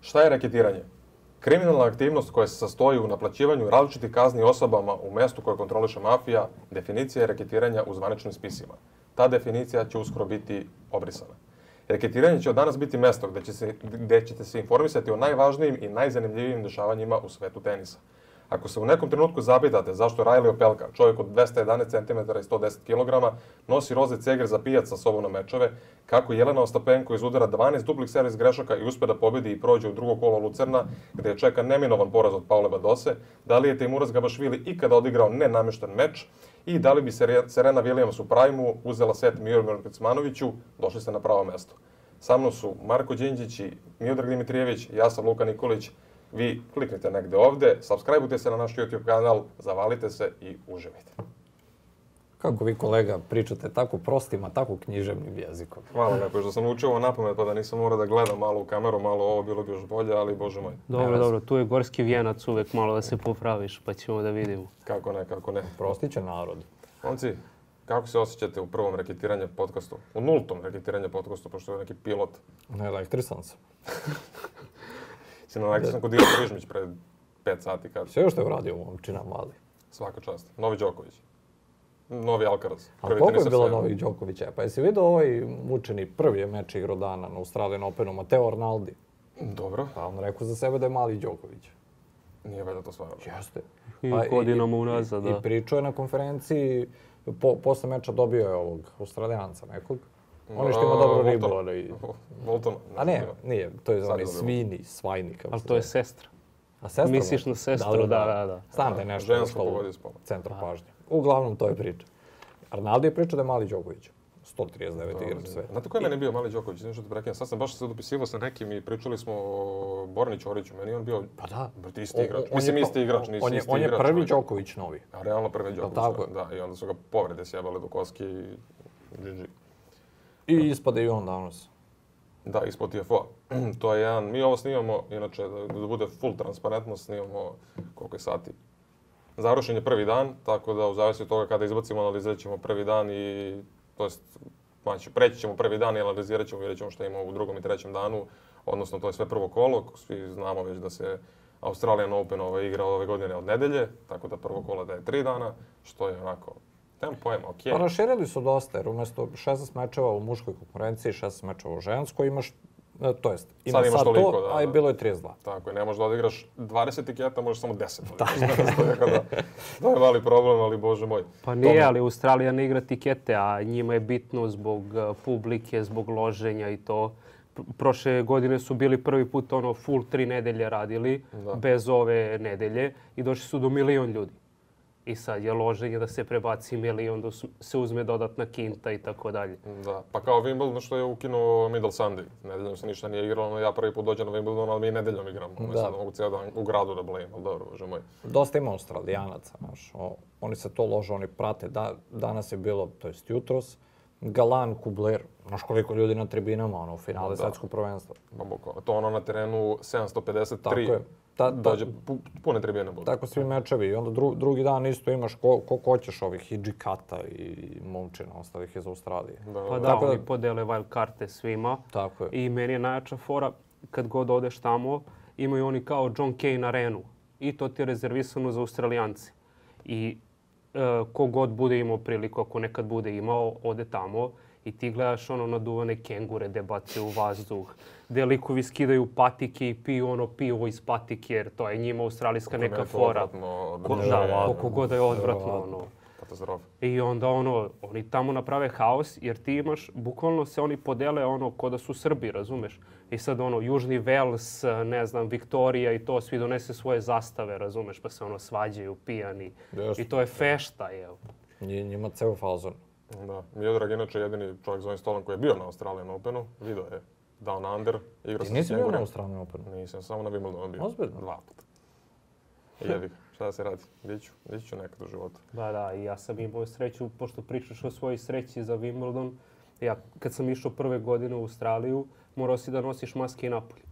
Šta je raketiranje? Kriminalna aktivnost koja se sastoji u naplaćivanju različitih kazni osobama u mestu koje kontroliše mafija, definicija je raketiranja u zvaničnim spisima. Ta definicija će uskoro biti obrisana. Raketiranje će od danas biti mesto gde, će se, gde ćete se informisati o najvažnijim i najzanimljivijim dešavanjima u svetu tenisa. Ako se u nekom trenutku zapitate zašto Rajli Opelka, čovjek od 211 cm i 110 kg, nosi roze cegre za pijac sa sobom na mečeve, kako Jelena Ostapenko izudara 12 duplih servis grešaka i uspe da pobedi i prođe u drugo kolo Lucerna, gde je čeka neminovan poraz od Paule Badose, da li je Timuraz Gabašvili ikada odigrao nenamešten meč i da li bi Sere- Serena Williams u prajmu uzela set Mijomiru Kecmanoviću, došli ste na pravo mesto. Sa mnom su Marko Đinđić i Miodrag Dimitrijević, ja sam Luka Nikolić. Vi kliknite negde ovde, subscribe-ujte se na naš YouTube kanal, zavalite se i uživajte. Kako vi kolega pričate tako prostim, a tako književnim jezikom? Hvala lepo, što sam učio ovo na pamet, pa da nisam morao da gledam malo u kameru, malo ovo bilo bi još bolje, ali bože moj, Nema Dobro, dobro, tu je gorski vijenac uvek malo da se popraviš, pa ćemo da vidimo. kako ne, kako ne. Prostit će narod. Momci, kako se osjećate u prvom reketiranju podcastu? U nultom reketiranju podcastu, pošto je neki pilot. Ne elektrisan sam. Si na neki sam kod Ivo Križmić pred 5 sati, kad Sve što je uradio momčina mali. svaka čast. Novi Đoković. Novi Alcaraz. A Prvi koliko je teniser bilo sveta. novih Đokovića? Pa jesi vidio ovaj mučeni prvi je meč igrodana na Australijan Openu, Mateo Arnaldi? Dobro, Pa on rekao za sebe da je mali Đoković. nije valjda to stvarno. Jeste. I Pa godinama unazad, i, da. I pričao je na konferenciji, po, posle meča dobio je ovog Australijanca nekog. Oni što ima A, dobro Voltona. ribu, onaj... Voltona. A ne, nije, to je Sad je onaj dobro. svini, svajni. Kako Ali se to je zove. sestra. A sestra mu je? misliš na sestru, da, da, da. Znam da je nešto Žensko ušlo u pogodio spolno. centar pažnje. Uglavnom, to je priča. Arnaldo je pričao da je mali Đoković. 139 igrač sveta. Znate ko je meni bio Mali Đoković? Nešto da prekinem. Sad sam baš se dopisivao sa nekim i pričali smo o Borni Ćoriću. Meni je on bio... Pa da. Brate, isti igrač. Mislim, isti igrač, nisi on je, isti on je igrač, prvi ali- Đoković novi. A realno prvi Đoković. tako je? Da, i onda su ga povrede sjebale do koske i... GG. I ispade i on danas. Da, ispod TFO. to je jedan... Mi ovo snimamo, inače, da, da bude full transparentno, snimamo koliko je sati. Završen je prvi dan, tako da u zavisi od toga kada izbacimo, analizirat ćemo prvi dan i... To jest, znači, preći ćemo prvi dan i analizirat ćemo, vidjet ćemo šta ima u drugom i trećem danu. Odnosno, to je sve prvo kolo. Svi znamo već da se Australian Open ovaj, igra ove godine od nedelje, tako da prvo kolo da je tri dana, što je onako... Nemam pojma, okej. Pa raširili su dosta, jer umjesto 16 mečeva u muškoj konkurenciji, 16 mečeva u ženskoj, imaš, e, to jest, ima Sad sad, imaš toliko, to, da, a i da. bilo je 32. Tako je, ne možeš da odigraš 20 tiketa, možeš samo 10 odigraš. Tako da, to je mali problem, ali bože moj. Pa Dobro. nije, ali Australija ne igra tikete, a njima je bitno zbog uh, publike, zbog loženja i to. P- Prošle godine su bili prvi put ono full tri nedelje radili, Da. bez ove nedelje i došli su do milion ljudi. I sad je loženje da se prebaci milion, da us- se uzme dodatna kinta i tako dalje. Da, pa kao Wimbledon što je ukinuo Middle Sunday. Nedeljom se ništa nije igralo, no ja prvi put dođem na Wimbledon, ali mi i nedeljom igramo. Da. Da. Sad mogu cijel dan u gradu da blejim, ali dobro, bože moj. Dosta ima australijanaca, znaš. o- oni se to lože, oni prate. Da, danas je bilo, to jest jutros, Galan, Kubler, znaš koliko ljudi na tribinama, ono, u finale svetskog prvenstva. Pa bukvalno, to ono na terenu 753. Tako je. Ta- ta- dođe pu- pune tribine budu. Tako svi mečevi. I onda dru- drugi dan isto imaš ko, ko hoćeš ovih i Džikata i momčina ostalih iz Australije. Da, Pa da, Tako da- oni podele wild karte svima. Tako je. I meni je najjača fora, kad god odeš tamo, imaju oni kao John Cain arenu. I to ti je rezervisano za Australijance. I e, kogod bude imao priliku, ako nekad bude imao, ode tamo i ti gledaš ono naduvane kengure de bace u vazduh, gde likovi skidaju patike i piju ono pivo iz patike, jer to je njima australijska Meni je neka to fora. odvratno, Ko- druže, Da, koliko god da je odvratno. Verovatno. Ono. Katastrofa. I onda ono, oni tamo naprave haos jer ti imaš, bukvalno se oni podele ono ko da su Srbi, razumeš? I sad ono, Južni Vels, ne znam, Viktorija i to, svi donese svoje zastave, razumeš? Pa se ono svađaju, pijani. Jeste. I to je fešta, jel? Nji- Njima ceo fazon. Da, Miodrag je inače jedini čovjek za ovim stolom koji je bio na Australian Openu, video je Down Under, igrao Ti sam nisi bio na Kengurem. Australijan Openu? Nisam, samo na Wimbledonu bio. Ozbiljno? Dva puta. I Jebi ga, šta da se radi? Biću, biću nekad u životu. Da, da, i ja sam imao sreću, pošto pričaš o svojoj sreći za Wimbledon, Ja, kad sam išao prve godine u Australiju, morao si da nosiš maske i napolje.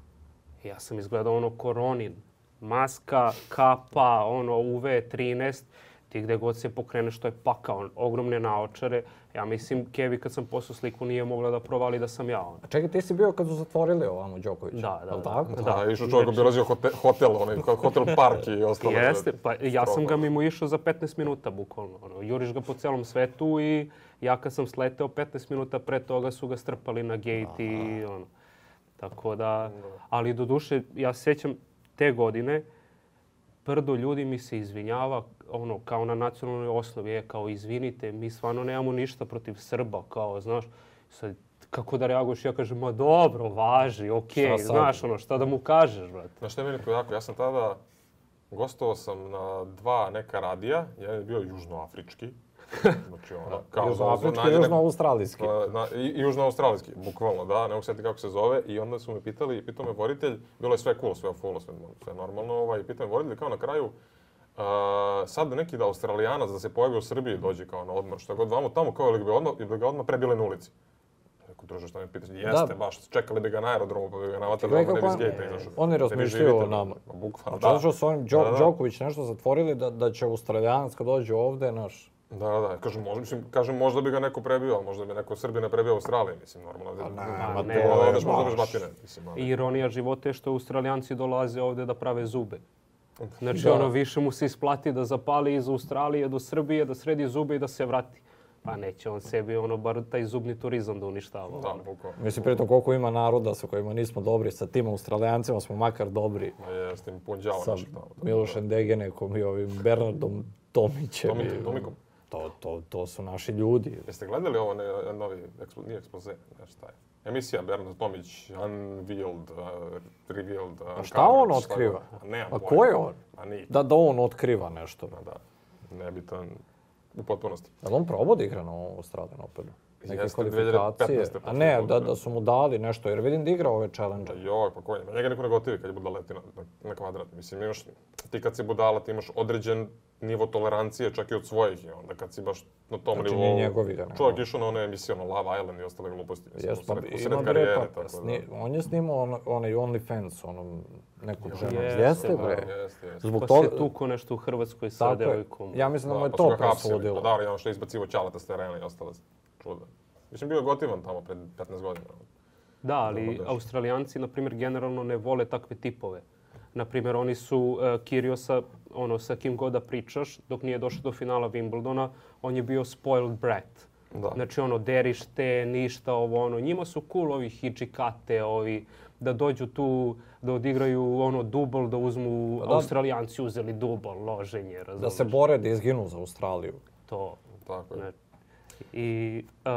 Ja sam izgledao ono koronin. Maska, kapa, ono UV13, ti gde god se pokreneš to je pakao, on, ogromne naočare. Ja mislim, Kevi kad sam poslao sliku nije mogla da provali da sam ja on. A čekaj, ti si bio kad su zatvorili ovamo Đokovića. Da, da, jel da. tako? Da, išao čovjek obilazio hotel, hotel, onaj, kao hotel park i ostalo. Jeste, pa ja sam ga mimo išao za 15 minuta bukvalno. Ono, juriš ga po celom svetu i ja kad sam sleteo 15 minuta pre toga su ga strpali na gate i ono. Tako da, ali do duše, ja se sjećam te godine, prdo ljudi mi se izvinjava ono kao na nacionalnoj osnovi, je kao izvinite, mi stvarno nemamo ništa protiv Srba, kao znaš, sad kako da reaguješ, ja kažem, ma dobro, važi, okej, Šta sad? znaš ono, šta da mu kažeš, brate. Znaš što je meni to jako? Ja sam tada, gostovao sam na dva neka radija, jedan je bio južnoafrički, znači ono, kao za Južnoafrički, označenje- južnoaustralijski. Pa, na, i, i južnoaustralijski, bukvalno, da, ne mogu sjetiti kako se zove. I onda su me pitali, pitao me voditelj, bilo je sve cool, sve fulo, sve, sve normalno, ovaj, pitao me voditelj kao na kraju, a, sad neki da australijanac da se pojavi u Srbiji dođe kao na odmor, šta god vamo tamo, kao ili bi, odmah, ili bi ga odmah prebile na ulici. Rekao, druže, šta me pitaš? Jeste, Da. baš, čekali bi ga na aerodromu, pa bi ga navatali, Čekaj, ono ne bi kako iz on- gejta izašao. on Ne je bi razmišljao živite, o nama. ma, Bukvalno, Zato da. što su oni, Đo- Da, da. Đoković nešto zatvorili da, da će Australijanac kad dođe ovde, naš, Da, da, da. Kažem, možda, mislim, kažem, možda bi ga neko prebio, ali možda bi neko Srbina prebio Australiji, mislim, normalno. Da, nema ne, to, da, ne, odeš, možda baš. baš batine, mislim, ali- I Ironija života je što australijanci dolaze ovdje da prave zube. Znači, Da. ono, više mu se isplati da zapali iz Australije do Srbije, da sredi zube i da se vrati. Pa neće on sebi, ono, bar taj zubni turizam da uništava. Da, ono. bukvalno. mislim, pritom koliko ima naroda sa kojima nismo dobri, sa tim Australijancima smo makar dobri. Ma je, s tim ono. punđao Sa naših tamo. Milošem Degenekom i ovim Bernardom Tomićem. Tomi- i- Tomikom. To, to, to su naši ljudi. Jeste gledali ovo ne, novi, ekspo, nije ekspoze, ne šta je. Emisija Bernard Tomić, Unveiled, uh, Revealed, A šta on otkriva? Ne, Pa ko je on? A nije. pa Da, da on otkriva nešto. Da, da. Nebitan u potpunosti. Jel on probao da igra na ovom Australian Openu? Neke Jeste, kvalifikacije. 2015. A ne, posle da, toga. da su mu dali nešto, jer vidim da igra ove Pa challenge joj, pa ko je? Njega niko ne gotivi kad je budala leti na, na- na kvadrat. Mislim, imaš, ti kad si budala, ti imaš određen nivo tolerancije čak i od svojih. I onda kad si baš na tom Znači, nivou... nije njegov igra, nego- Čovjek išao na one emisije, ono Love Island i ostale gluposti. Mislim, Jes, pa usred- usred ima bre, karijere, pa, tako da. sni- on je snimao on, onaj OnlyFans, onom nekom ženom. jeste, Jeste, da. bre. Jeste, jeste. Zbog Pa toga, se tuko nešto u Hrvatskoj sa tako je. devojkom. Ja mislim da mu je pa su to ga hapsili. Pa presudilo. da, ali ono što je izbacivo ćaleta s terena i ostale čuda. Mislim, bio je gotivan tamo pred 15 godina. ono. Da, ali Dobro došao. australijanci, na primjer, generalno ne vole takve tipove. Na primjer, oni su e, Kiriosa, ono, sa kim god da pričaš, dok nije došao do finala Wimbledona, on je bio spoiled brat. Da. Znači, ono, deriš te, ništa, ovo, ono. Njima su cool ovi hijikate, ovi, da dođu tu, da odigraju, ono, dubl, da uzmu, Pa da. australijanci uzeli dubl, loženje, razumiješ? Da se bore da izginu za Australiju. To, Tako je. Ne. I e,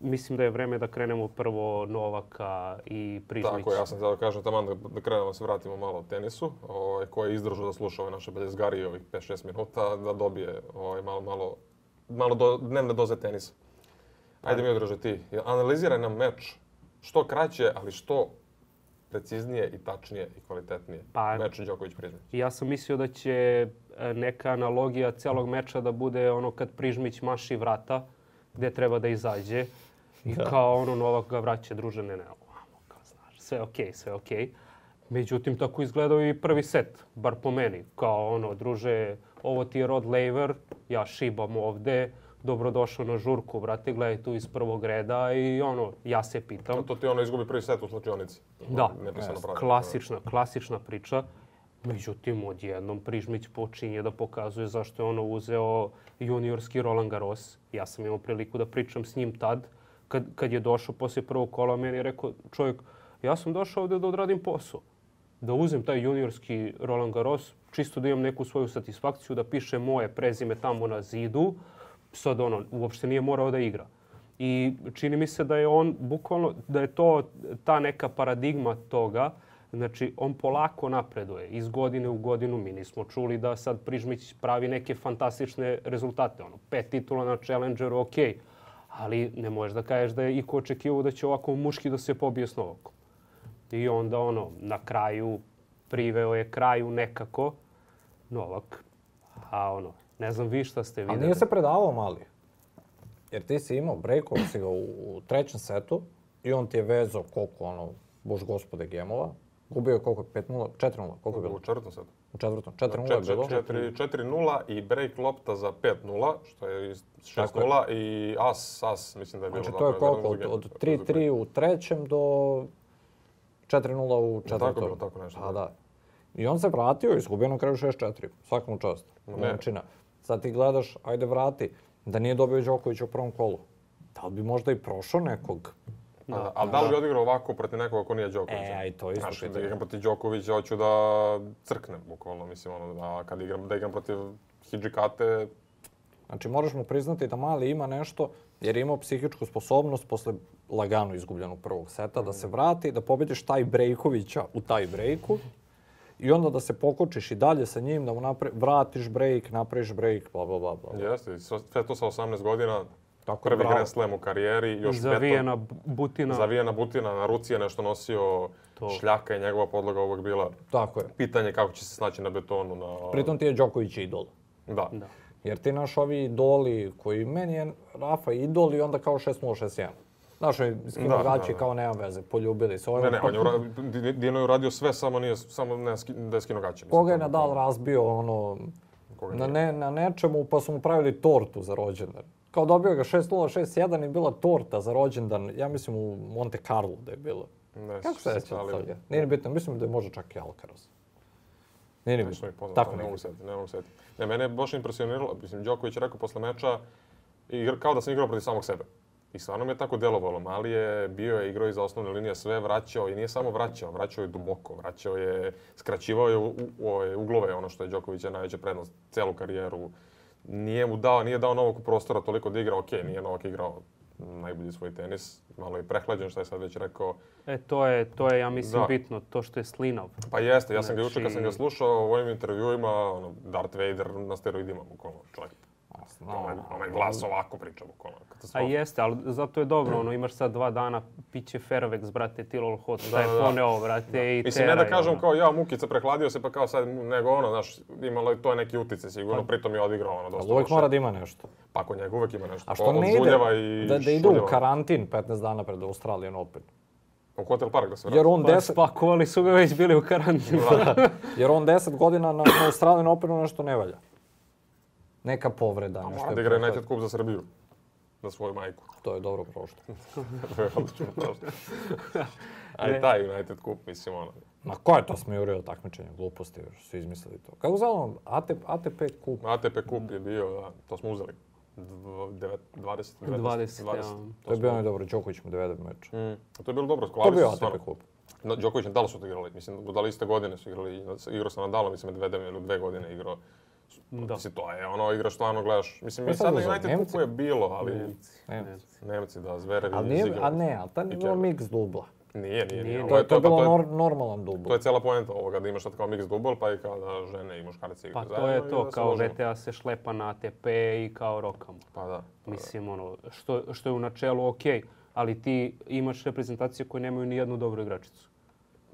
mislim da je vreme da krenemo prvo Novaka i Prizmića. Tako, je, ja sam htio da kažem taman da, da krenemo da se vratimo malo o tenisu, ovaj, koji je izdržao da sluša ove naše beljezgarije ovih 5-6 minuta, da dobije ovaj, malo, malo, malo do, dnevne doze tenisa. Ajde mi održe ti. Analiziraj nam meč što kraće, ali što preciznije i tačnije i kvalitetnije. Pa- Meč Đoković Prizmić. Ja sam mislio da će e, neka analogija celog meča da bude ono kad Prižmić maši vrata gdje treba da izađe i kao ono Novak ga vraća druže ne ne ovamo, kao znaš, sve okej, sve okej. Međutim, tako je izgledao i prvi set, bar po meni. Kao ono, druže, ovo ti je Rod Laver, ja šibam ovde, dobrodošao na žurku, brate, gledaj tu iz prvog reda i ono, ja se pitam. To ti ono izgubi prvi set u slučionici. Da, E, e, Nepisano pravilo. klasična, klasična priča. Međutim, odjednom Prižmić počinje da pokazuje zašto je ono uzeo juniorski Roland Garros. Ja sam imao priliku da pričam s njim tad. Kad, kad je došao poslije prvog kola, meni je rekao čovjek, ja sam došao ovdje da odradim posao. Da uzem taj juniorski Roland Garros, čisto da imam neku svoju satisfakciju, da piše moje prezime tamo na zidu. Sad ono, uopšte nije morao da igra. I čini mi se da je on bukvalno, da je to ta neka paradigma toga, znači on polako napreduje iz godine u godinu. Mi nismo čuli da sad Prižmić pravi neke fantastične rezultate, ono pet titula na Challengeru, ok, ali ne možeš da kažeš da je iko očekivao da će ovako muški da se pobije s Novakom. I onda ono, na kraju, priveo je kraju nekako Novak, a ono, ne znam vi šta ste A vidjeli. nije se predavao mali. Jer ti si imao, breakovo si ga u, u trećem setu i on ti je vezao koliko, ono, bož gospode gemova. Gubio je koliko, 5-0, 4-0, koliko je bilo? U četvrtom setu. U četvrtom, 4-0 je bilo. 4-0 i break lopta za 5-0, što je 6-0 i as, as, mislim da je bilo. Znači to je koliko, od, od 3-3 u trećem do 4-0 u četvrtom. tako bilo, tako nešto, Pa da. da. I on se vratio i izgubio na kraju 6-4. Svakom čast. ne. Momčina. Sad ti gledaš, ajde vrati, da nije dobio Đokovića u prvom kolu. Da li bi možda i prošao nekog? Da, ali da li bi odigrao ovako protiv nekoga ko nije Đoković? E, a i to je isto Znaš, da pitanje. igram protiv Đokovića, hoću da crknem, bukvalno, mislim, ono, da kad igram, da igram protiv Hidžikate, Znači, moraš mu priznati da Mali ima nešto, jer je imao psihičku sposobnost posle lagano izgubljenog prvog seta, da se vrati, da pobediš taj Brejkovića u taj brejku i onda da se pokočiš i dalje sa njim, da mu napre- vratiš brejk, napraviš brejk, bla, bla, bla, bla. jeste, i sve sve to sa 18 godina, Tako je, prvi bravo. Grand Slam u karijeri, još Zavijena bu- butina. beton, zavijena butina, na ruci je nešto nosio, šljaka je njegova podloga uvek bila. Tako je. Pitanje kako će se snaći na betonu, na... Pritom ti je Đoković idol. Da. Da. Jer ti naš ovi idoli koji meni je Rafa idol i onda kao 6-0-6-1. Znaš, ovi Da, da, skinogavači da. kao nema veze, poljubili se. Ovaj Ne, ne, on je ura- Di- Dino je uradio sve, samo nije, samo ne, ski- da je skino gaće. mislim, Koga je to- Nadal razbio ono, Koga na, ne, na nečemu pa su mu pravili tortu za rođendan. Kao dobio ga 6-0-6-1 i bila torta za rođendan, ja mislim u Monte Carlo da je bilo. Ne, Kako se s- reći ali- toga? Nije ni bitno, mislim da je možda čak i Alcaraz. Nije ni Nešto bitno. mi je poznato, Tako ne mogu nekako. setiti, ne mogu setiti. Ne, mene je baš impresioniralo, mislim, Đoković je rekao posle meča, igr, kao da sam igrao protiv samog sebe. I stvarno mi je tako delovalo. Mali je bio je igrao iza osnovne linije, sve vraćao i nije samo vraćao, vraćao je duboko, vraćao je, skraćivao je u, u, ove uglove, ono što je Đoković je najveća prednost, celu karijeru. Nije mu dao, nije dao Novaku prostora toliko da igra, ok, nije Novak igrao najbolji svoj tenis, malo je prehlađen, što je sad već rekao, E, to je, to je, ja mislim, Da. bitno, to što je slinav. pa jeste, ja sam ga juče kad sam ga Znači- slušao u ovim intervjuima, ono, Darth Vader na steroidima, bukvalno, čovjek. Onaj, onaj glas ovako priča, bukvalno, A katastrofa. jeste, ali zato je dobro, ono, imaš sad dva dana, piće Fairvex, brate, Tilol Hot, šta je da, da. poneo, brate, i Mislim, ne da teraj, kažem ono. kao ja, Mukica, prehladio se, pa kao sad, nego ono, znaš, imalo je to neki utice sigurno, pritom je odigrao ono dosta Pa- Ali uvijek loše. mora da ima nešto. Pa ako njega uvek ima nešto. A što ne ide, Odžuljava i da, da ide u šuljava. karantin 15 dana pred Australian Open. U Hotel Park da se vrati. Jer on, Pa, 10, spakovali su ga već bili u karantinu. jer on 10 godina na, na Australian Openu nešto ne valja. Neka povreda, nešto Mora je da igra prošlo. United Cup za Srbiju. Za svoju majku. To je dobro prošlo. To je odlično, prosto. A i taj United Cup, mislim, ono. Ma ko je to smijurio takmičenje? Gluposti, još su izmislili to. Kako zove ono, ATP, ATP kup? ATP Cup je bio, da, to smo uzeli. Dv- devet- 20, 20, 19, 20. ja. To je bio onaj dobro, Đoković mu dovede meč. Mm. To je bilo dobro, To je sklali bio su se stvarno. ATP kup. No, Đoković i Nadal su to igrali, mislim, da li iste godine su igrali, igrao sam Nadalom, mislim, Medvedem ili dve godine igrao. Da. Mislim, to je ono, igraš stvarno, gledaš. Mislim, Ko je i sad sad na uzeo? United Nemci? Cupu je bilo, ali Ne. Nemci, da, Zverev A, i nije, Ziegler. a ne, ali tad nije I bilo Kerber. mix dubla. Nije, nije, nije. Nije, Ovo To je, to je pa bilo to je- nor- normalan dubl. To je cijela poenta ovoga, da imaš sad kao mix dubl, pa i kao da žene i muškarci Pa igraju to je zajedno i to, da se kao ložimo. VTA se šlepa na ATP i kao rokamo. Pa da. Mislim, ono, što, što je u načelu ok, ali ti imaš reprezentacije koje nemaju ni jednu dobru igračicu.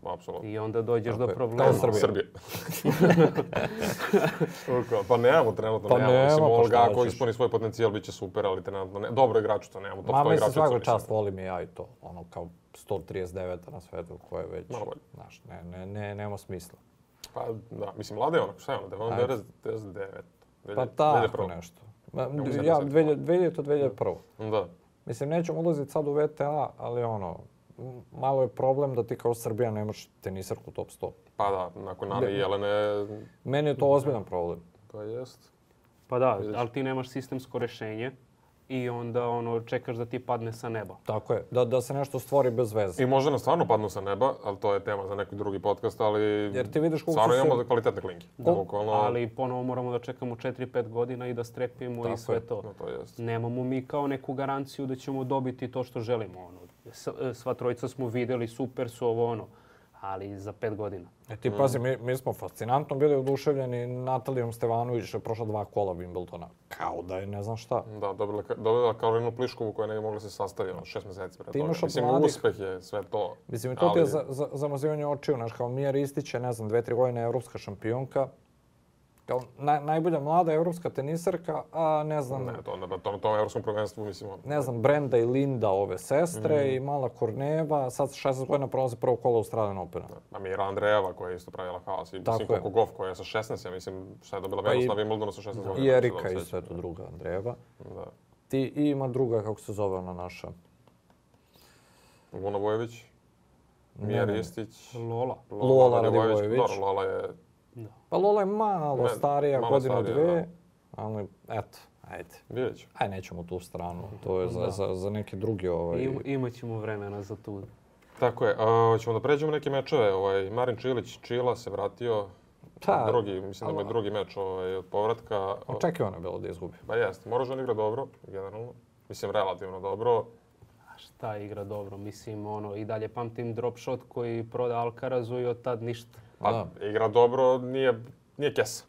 Apsolutno. I onda dođeš Tako do je. problema. Kao Srbija. Srbije. Uko, pa nemamo trenutno, Pa nemamo. Mislim, nema, pa Olga šta ako hoćeš? ispuni svoj potencijal, bit će super, ali trenutno ne. Dobro igraču to nemamo, top 100 Ma, igrača. mislim, svaka čast, volim i ja i to. Ono, kao 139 na svetu, koje već, Malo bolje. znaš, ne, ne, ne, nema smisla. Pa da, mislim, mlada je ona, šta je ono, ona, da Ajde. je 99. Pa tako nešto. Ma, mogu sad da ja, setim. 2000 2000 to 2001. Da, Mislim, nećemo ulaziti sad u VTA, ali ono, m- malo je problem da ti kao Srbija nemaš tenisarku u top 100. pa da, nakon Nane i Jelene, Meni je to ozbiljan problem. pa jest. Pa da, ali ti nemaš sistemsko rešenje i onda ono, čekaš da ti padne sa neba. Tako je, da, da se nešto stvori bez veze. I možda nam stvarno padnu sa neba, ali to je tema za neki drugi podcast, ali Jer ti vidiš koliko stvarno su se- imamo da kvalitetne klinke. Da. Bukvalno, Ali ponovo moramo da čekamo 4-5 godina i da strepimo Tako i sve je. to. no, to jest. Nemamo mi kao neku garanciju da ćemo dobiti to što želimo. Ono. S- e, sva trojica smo videli, super su ovo ono, ali za pet godina. E ti pazi, mi, mi smo fascinantno bili oduševljeni Natalijom Stevanović što je prošla dva kola Wimbledona. Kao da je ne znam šta. Da, dobila, ka- dobila Karolinu Pliškovu koja ne mogla se sastaviti, ono, šest mjeseci pre toga. imaš od Mislim, mladih- uspeh je sve to. Mislim, i to ti je za, za, zamazivanje očiju, znaš, kao Mija Ristić je, ne znam, dve, tri godine evropska šampionka, Kao naj- najbolja mlada evropska teniserka, a ne znam, Ne, to, na, na tom, tom evropskom prvenstvu, mislim, ono, on- ne znam, Brenda i Linda, ove sestre, Mhm. i mala Korneva, sad sa 16 godina prolaze prvo kolo Australian Opena. A Mira Andrejeva koja je isto pravila haos. I Tako je. mislim, Koko Goff koja je sa 16, ja mislim, šta je dobila Pa i- Venoslavija i Moldona sa 16 godina. ako I se Erika dobro i sećam. sve to druga, Andreva. Da. Ti, I ima druga, kako se zove ona naša. Luna Vojević, Mija Ristić, Lola. Lola Radivojević. Radivojević. Dobro, Lola je... Pa Lola je malo Ne, starija, malo godinu starija, dve, ali eto, ajde. Vidjet ću. Aj, nećemo tu stranu, to je za, za, za neki drugi ovaj... Ima, imat ćemo vremena za tu. Tako je, a, ćemo da pređemo u neke mečeve. Ovaj, Marin Čilić, Čila se vratio. Pa, drugi, mislim da mu je ali- drugi meč ovaj, od povratka. Očekivano je bilo da izgubi. Ba jest, Morožan igra dobro, generalno. Mislim, relativno dobro. A šta igra dobro, mislim, ono, i dalje pamtim drop shot koji proda Alcarazu i od tad ništa. Pa igra dobro, nije, nije kesa.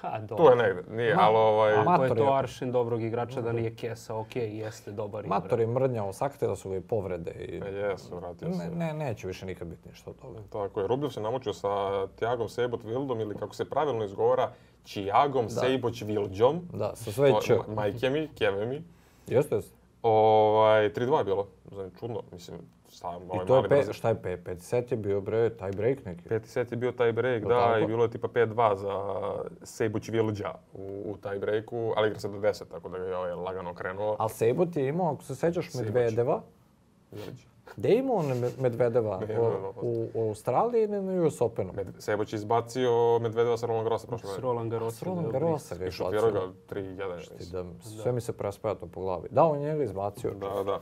Ha, dobro. Tu je negde, nije, Ma- ali ovaj... ma- Ako je Mator to je- aršin dobrog igrača da nije kesa, ok, jeste dobar igrač. Mator je mrnjao, sakte da su ga i povrede E, i... Jesu, vratio se. Ne, ne, neće više nikad biti ništa od toga. Tako je, Rubljev se namučio sa Tiagom Sejbot Vildom ili kako se pravilno izgovara, Čijagom Sejboć Vildjom. Da, sa sve će... Majke mi, keve mi. Jeste, jeste. Ovaj, 3-2 je bilo, znači čudno, mislim, stavim ovaj I to je, mali pe, brz- šta je, pe, peti set je bio bre, taj break neki. Peti set je bio taj break, Je da, li tako? i bilo je tipa 5-2 za Sejboć Vildja u, u taj breaku, ali igra se do 10, tako da je ovaj lagano krenuo. Ali Sejbot je imao, ako se sećaš, Medvedeva. Vildj. Gde je imao on Med- Medvedeva? Ne, O- ne, ne, ne. u, u Australiji ili na US Openu? Med- Sejboć je izbacio Medvedeva sa Roland Grossa prošle S godine. Roland Garros. S Roland Garrosa ga I je šutirao ga izbacio. 3-1, mislim. Ti Da, sve mi se prespaja to po glavi. Da, on je njega izbacio. Da, da.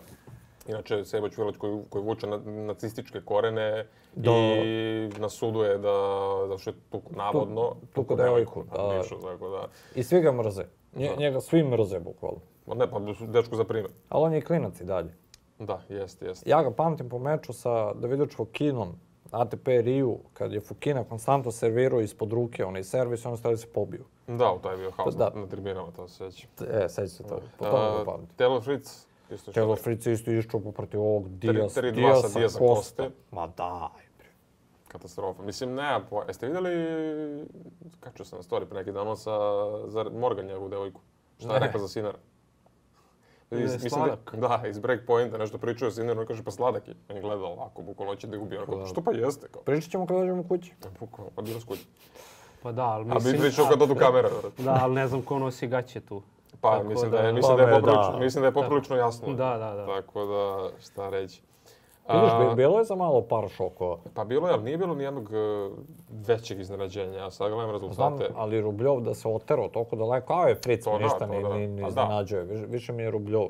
Inače, Seboć Vilić koji, koji vuče na, nacističke korene Da. i na sudu je da, zato što je tuku, navodno, tuku, tuku devojku, na da. Nišu, tako da. I svi ga mrze. Nje- njega svi mrze, bukvalno. Ma ne, pa dečku za primjer. Ali on je klinac i dalje. Da, jeste, jeste. Ja ga pamtim po meču sa Davidović Fokinom, ATP Riju, kad je Fokina konstantno servirao ispod ruke, onaj servis, on stavio se pobio. Da, u taj je bio haos Da. na, na tribinama, to se sjeća. E, sećam se to. Po Pa, tome ga Uh, pamtim. Taylor Fritz, isto što Taylor Fritz je isto iščupo protiv ovog Diasa, tri- dva Diasa, sa Diasa Kosta. Koste. Ma daj, bre. katastrofa. Mislim, ne, po, jeste vidjeli, kačio sam na story pre neki dan, on sa za Morgan, njegovu devojku. Šta je Ne. rekla za Sinara? Ne, sladak. Da, da, iz break pointa nešto pričao o Sinaru, on kaže pa sladak je. On je gledao ovako, bukvalno će da gubi. Onako, što pa jeste? Kao, Pričat ćemo kad dođemo kući. bukvalno, pa bilo skući. Pa da, ali A mislim... bi pričao kad odu kamera. Da, ali ne znam ko nosi gaće tu. Pa, Tako mislim da- da, je, mislim da Pa je me, poprilično, da. mislim da je poprilično jasno. Da, da, da. Tako da, šta reći. Vidiš, A, bi- bilo je za malo par šokova. pa bilo je, ali nije bilo nijednog e, većeg iznenađenja. Ja sad gledam Znam, rezultate. ali Rubljov da se oterao toliko daleko, a je Fritz To mi da, ništa to ne, da. ne, Pa da. ne iznenađuje, više, više mi je Rubljov.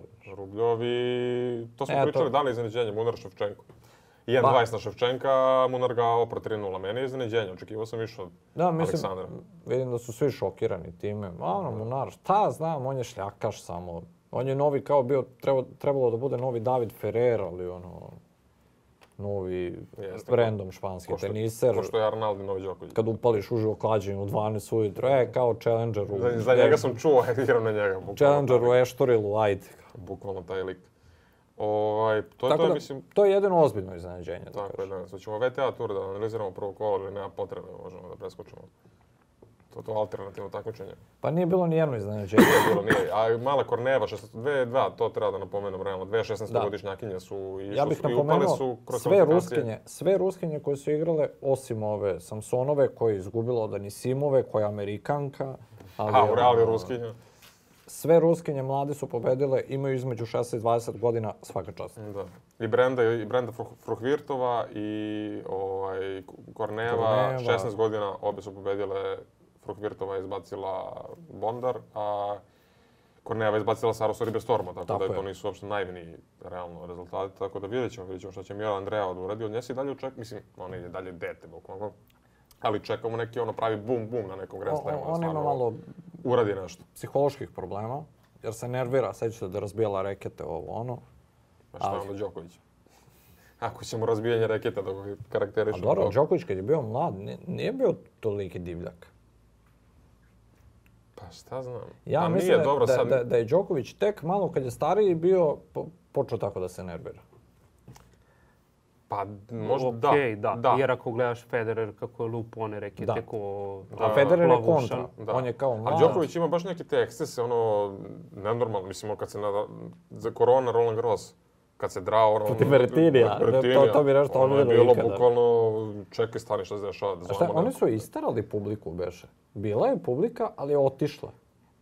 Rubljovi, to smo E, to- pričali, da li je iznenađenje Munar Ševčenko. 1-20 na Ševčenka, Munar ga opra 3-0. Meni je iznenađenje, očekivao sam više od Da, mislim, Aleksandra. vidim da su svi šokirani time. A ono, Munar, šta znam, on je šljakaš samo. On je novi kao bio, treba, trebalo da bude novi David Ferrer, ali ono, novi Jeste, random španski ko što- teniser. Pošto je Arnaldi Novi Đoković. Kad upališ uživo klađenje u 12 ujutro, e, kao Challenger u... Za, za njega sam čuo, igram na njega. Bukvalno, Challenger u Eštorilu, ajde. Bukvalno taj lik. Ovaj, to je Tako to, da, mislim, to je jedino ozbiljno iznenađenje. Da tako je kažem. danas. Hoćemo VTA tur da analiziramo prvo kolo, ali nema potrebe, možemo da preskočimo. To je to alternativno takmičenje. Pa nije bilo ni jedno iznenađenje. Nije bilo, nije. A mala Korneva, 16 2-2, to treba da napomenem, realno. Dve 16-godišnjakinje su išle Ja bih su, i upale su napomenuo kroz sve kvalifikacije. ruskinje, sve ruskinje koje su igrale, osim ove Samsonove koja je izgubila od Anisimove, koja je Amerikanka. Ali, A, u reali ono, ruskinja. Sve ruskinje mlade su pobedile, imaju između 16 i 20 godina svaka čast. Da. I Brenda, i Brenda Fruh- Fruhvirtova i ovaj, Korneva, Korneva. 16 godina, obe su pobedile. Fruhvirtova je izbacila Bondar, a Korneva je izbacila Saru Soribestorma, tako, Tako da je. to nisu uopšte najmini realno rezultati, tako da vidjet ćemo, vidjet ćemo šta će Mira Andreja da uradi. Od nje se i dalje oček, mislim, ona je i dalje dete, bukvalno. Ali čekamo neki ono pravi bum bum na nekom Grand O- Slamu. o- da Ona ima stvarno malo Uradi nešto. psiholoških problema, jer se nervira, sećate da je razbijala rekete ovo ono. Pa šta je onda Đoković? Ako ćemo razbijanje reketa da ga A karakterišemo. Pa dobro, kao- Đoković kad je bio mlad, nije, nije bio toliki divljak. Pa šta znam. Ja A mislim nije, da, dobro, da, sad, da, da je Đoković tek malo kad je stariji bio, po- počeo tako da se nervira. Pa, možda Okej, da. da. Jer ako gledaš Federer kako je ono, lup one rekete Da. ko A Federer je plavušan. kontra. Da. On je kao A mlad. Đoković ima baš neke te ekscese, ono, nenormalno, mislim, ono, kad se na, za korona Roland Garros, kad se drao, ono... Protiv Vertinija, protiv da, to- Vertinija, to bi nešto ono je odvelo bilo ikada. bukvalno, čekaj, stani, šta se dešava, da A šta, zovemo oni neko. su isterali publiku, beše. Bila je publika, ali je otišla.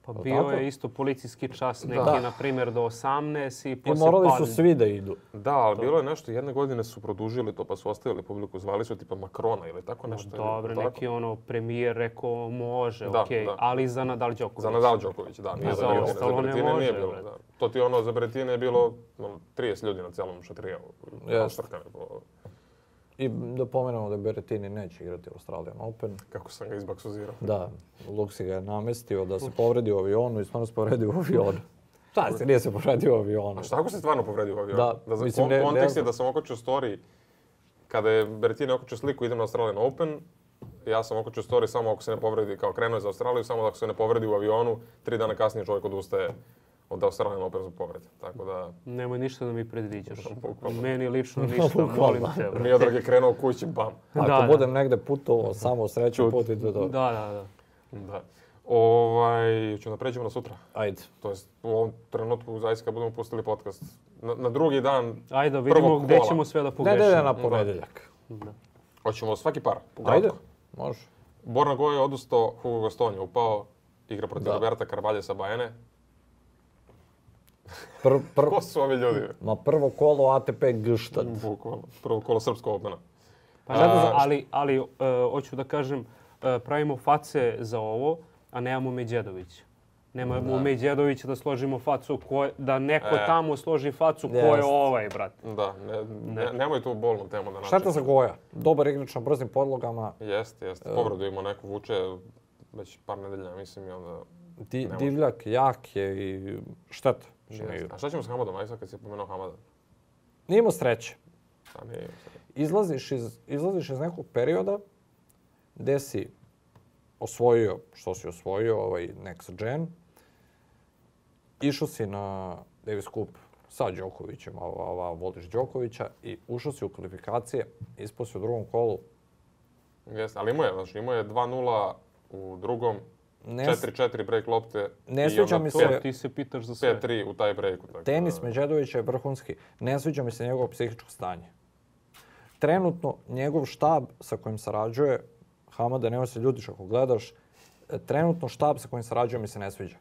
Pa Jel' bio tako? je isto policijski čas neki, Da. na primjer, do 18 i I poslije morali su padne. svi da idu. Da, ali bilo je nešto, jedne godine su produžili to, pa su ostavili publiku, zvali su tipa Makrona ili tako Ma nešto. ili Dobro, tako? neki ono premijer rekao može, Da, okej, da. ali za Nadal Đoković. Za Nadal Đoković, da, nije A za za Berrettine, ostalo za ne Berrettine nije može, bilo. brate. Da. To ti ono, za Berrettine je bilo ono, 30 ljudi na cijelom šatrijevu. Jeste. Ostrkane po- I da pomenemo da Beretini neće igrati Australian Open. Kako sam ga izbaksuzirao. Da, Luksi ga je namestio da se povredi u avionu i stvarno se povredio u avionu. Šta se, nije se povredio u avionu. A šta ako se stvarno povredio u avionu? Da, za- mislim, kon- ne- ne- kontekst je da sam okočio story, kada je Berrettine okočio sliku, idem na Australian Open, ja sam okočio story samo ako se ne povredi, kao krenuo je za Australiju, samo ako se ne povredi u avionu, tri dana kasnije čovjek odustaje od Australian Open zbog povrede. Tako da, Nemoj ništa da mi predviđaš. Bukvalno. Meni lično ništa, Bukvalno. molim te. brate. Miodrag je krenuo kući, bam. Ako Da, da. budem negde putovao samo sreću put i to je Da, dobro. da, da. Da. Ovaj, ćemo da pređemo na sutra. Ajde. To jest, u ovom trenutku zaista kad budemo pustili podcast. Na, na drugi dan Ajde, da Prvog vidimo gdje kola. ćemo sve da Ne, ne, ne, pogrešimo. na ponedeljak. Da. hoćemo svaki par. Pa Ajde, može. Borna Goja je odustao, Hugo Goston je upao, igra protiv Da. Roberta Carvalha sa Bajene. Pr, pr, Ko Pa su ovi ljudi? ma prvo kolo ATP Gštad. Bukvalno. Prvo kolo srpskog opena. Pa zato A- za- ali, ali e, hoću da kažem, e, pravimo face za ovo, a nemamo Međedovića. Nemamo Međedovića da složimo facu, ko je- da neko E. tamo složi facu ko je Jest. ovaj, brate. Da, ne, ne- nemoj tu bolnu temu da Šteta načinu. za Goja. Dobar igrač na brzim podlogama. Jeste, jeste. Povredu ima neku vuče već par nedelja, mislim, i onda... Di- divljak, jak je i šteta. što ne Jeste. igra. A šta ćemo s Hamadom, aj sad kad si pomenuo Hamada? Nije imao sreće. A nije, izlaziš iz, izlaziš iz nekog perioda gde si osvojio što si osvojio, ovaj next gen, išao si na Davis Cup sa Đokovićem, a, a, a voliš Đokovića i ušao si u kvalifikacije, ispao si u drugom kolu. Jeste, ali imao je, znači imao je 2-0 u drugom, Ne, 4-4 break lopte Ne i sjećam onda mi se- pet- Sve. Ti se pitaš za sve. 5-3 u taj breaku. Tako Tenis da- Međedovića je vrhunski. Ne sviđa mi se njegovo psihičko stanje. Trenutno njegov štab sa kojim sarađuje, Hamada, nema se ljutiš ako gledaš, e, trenutno štab sa kojim sarađuje mi se ne sviđa.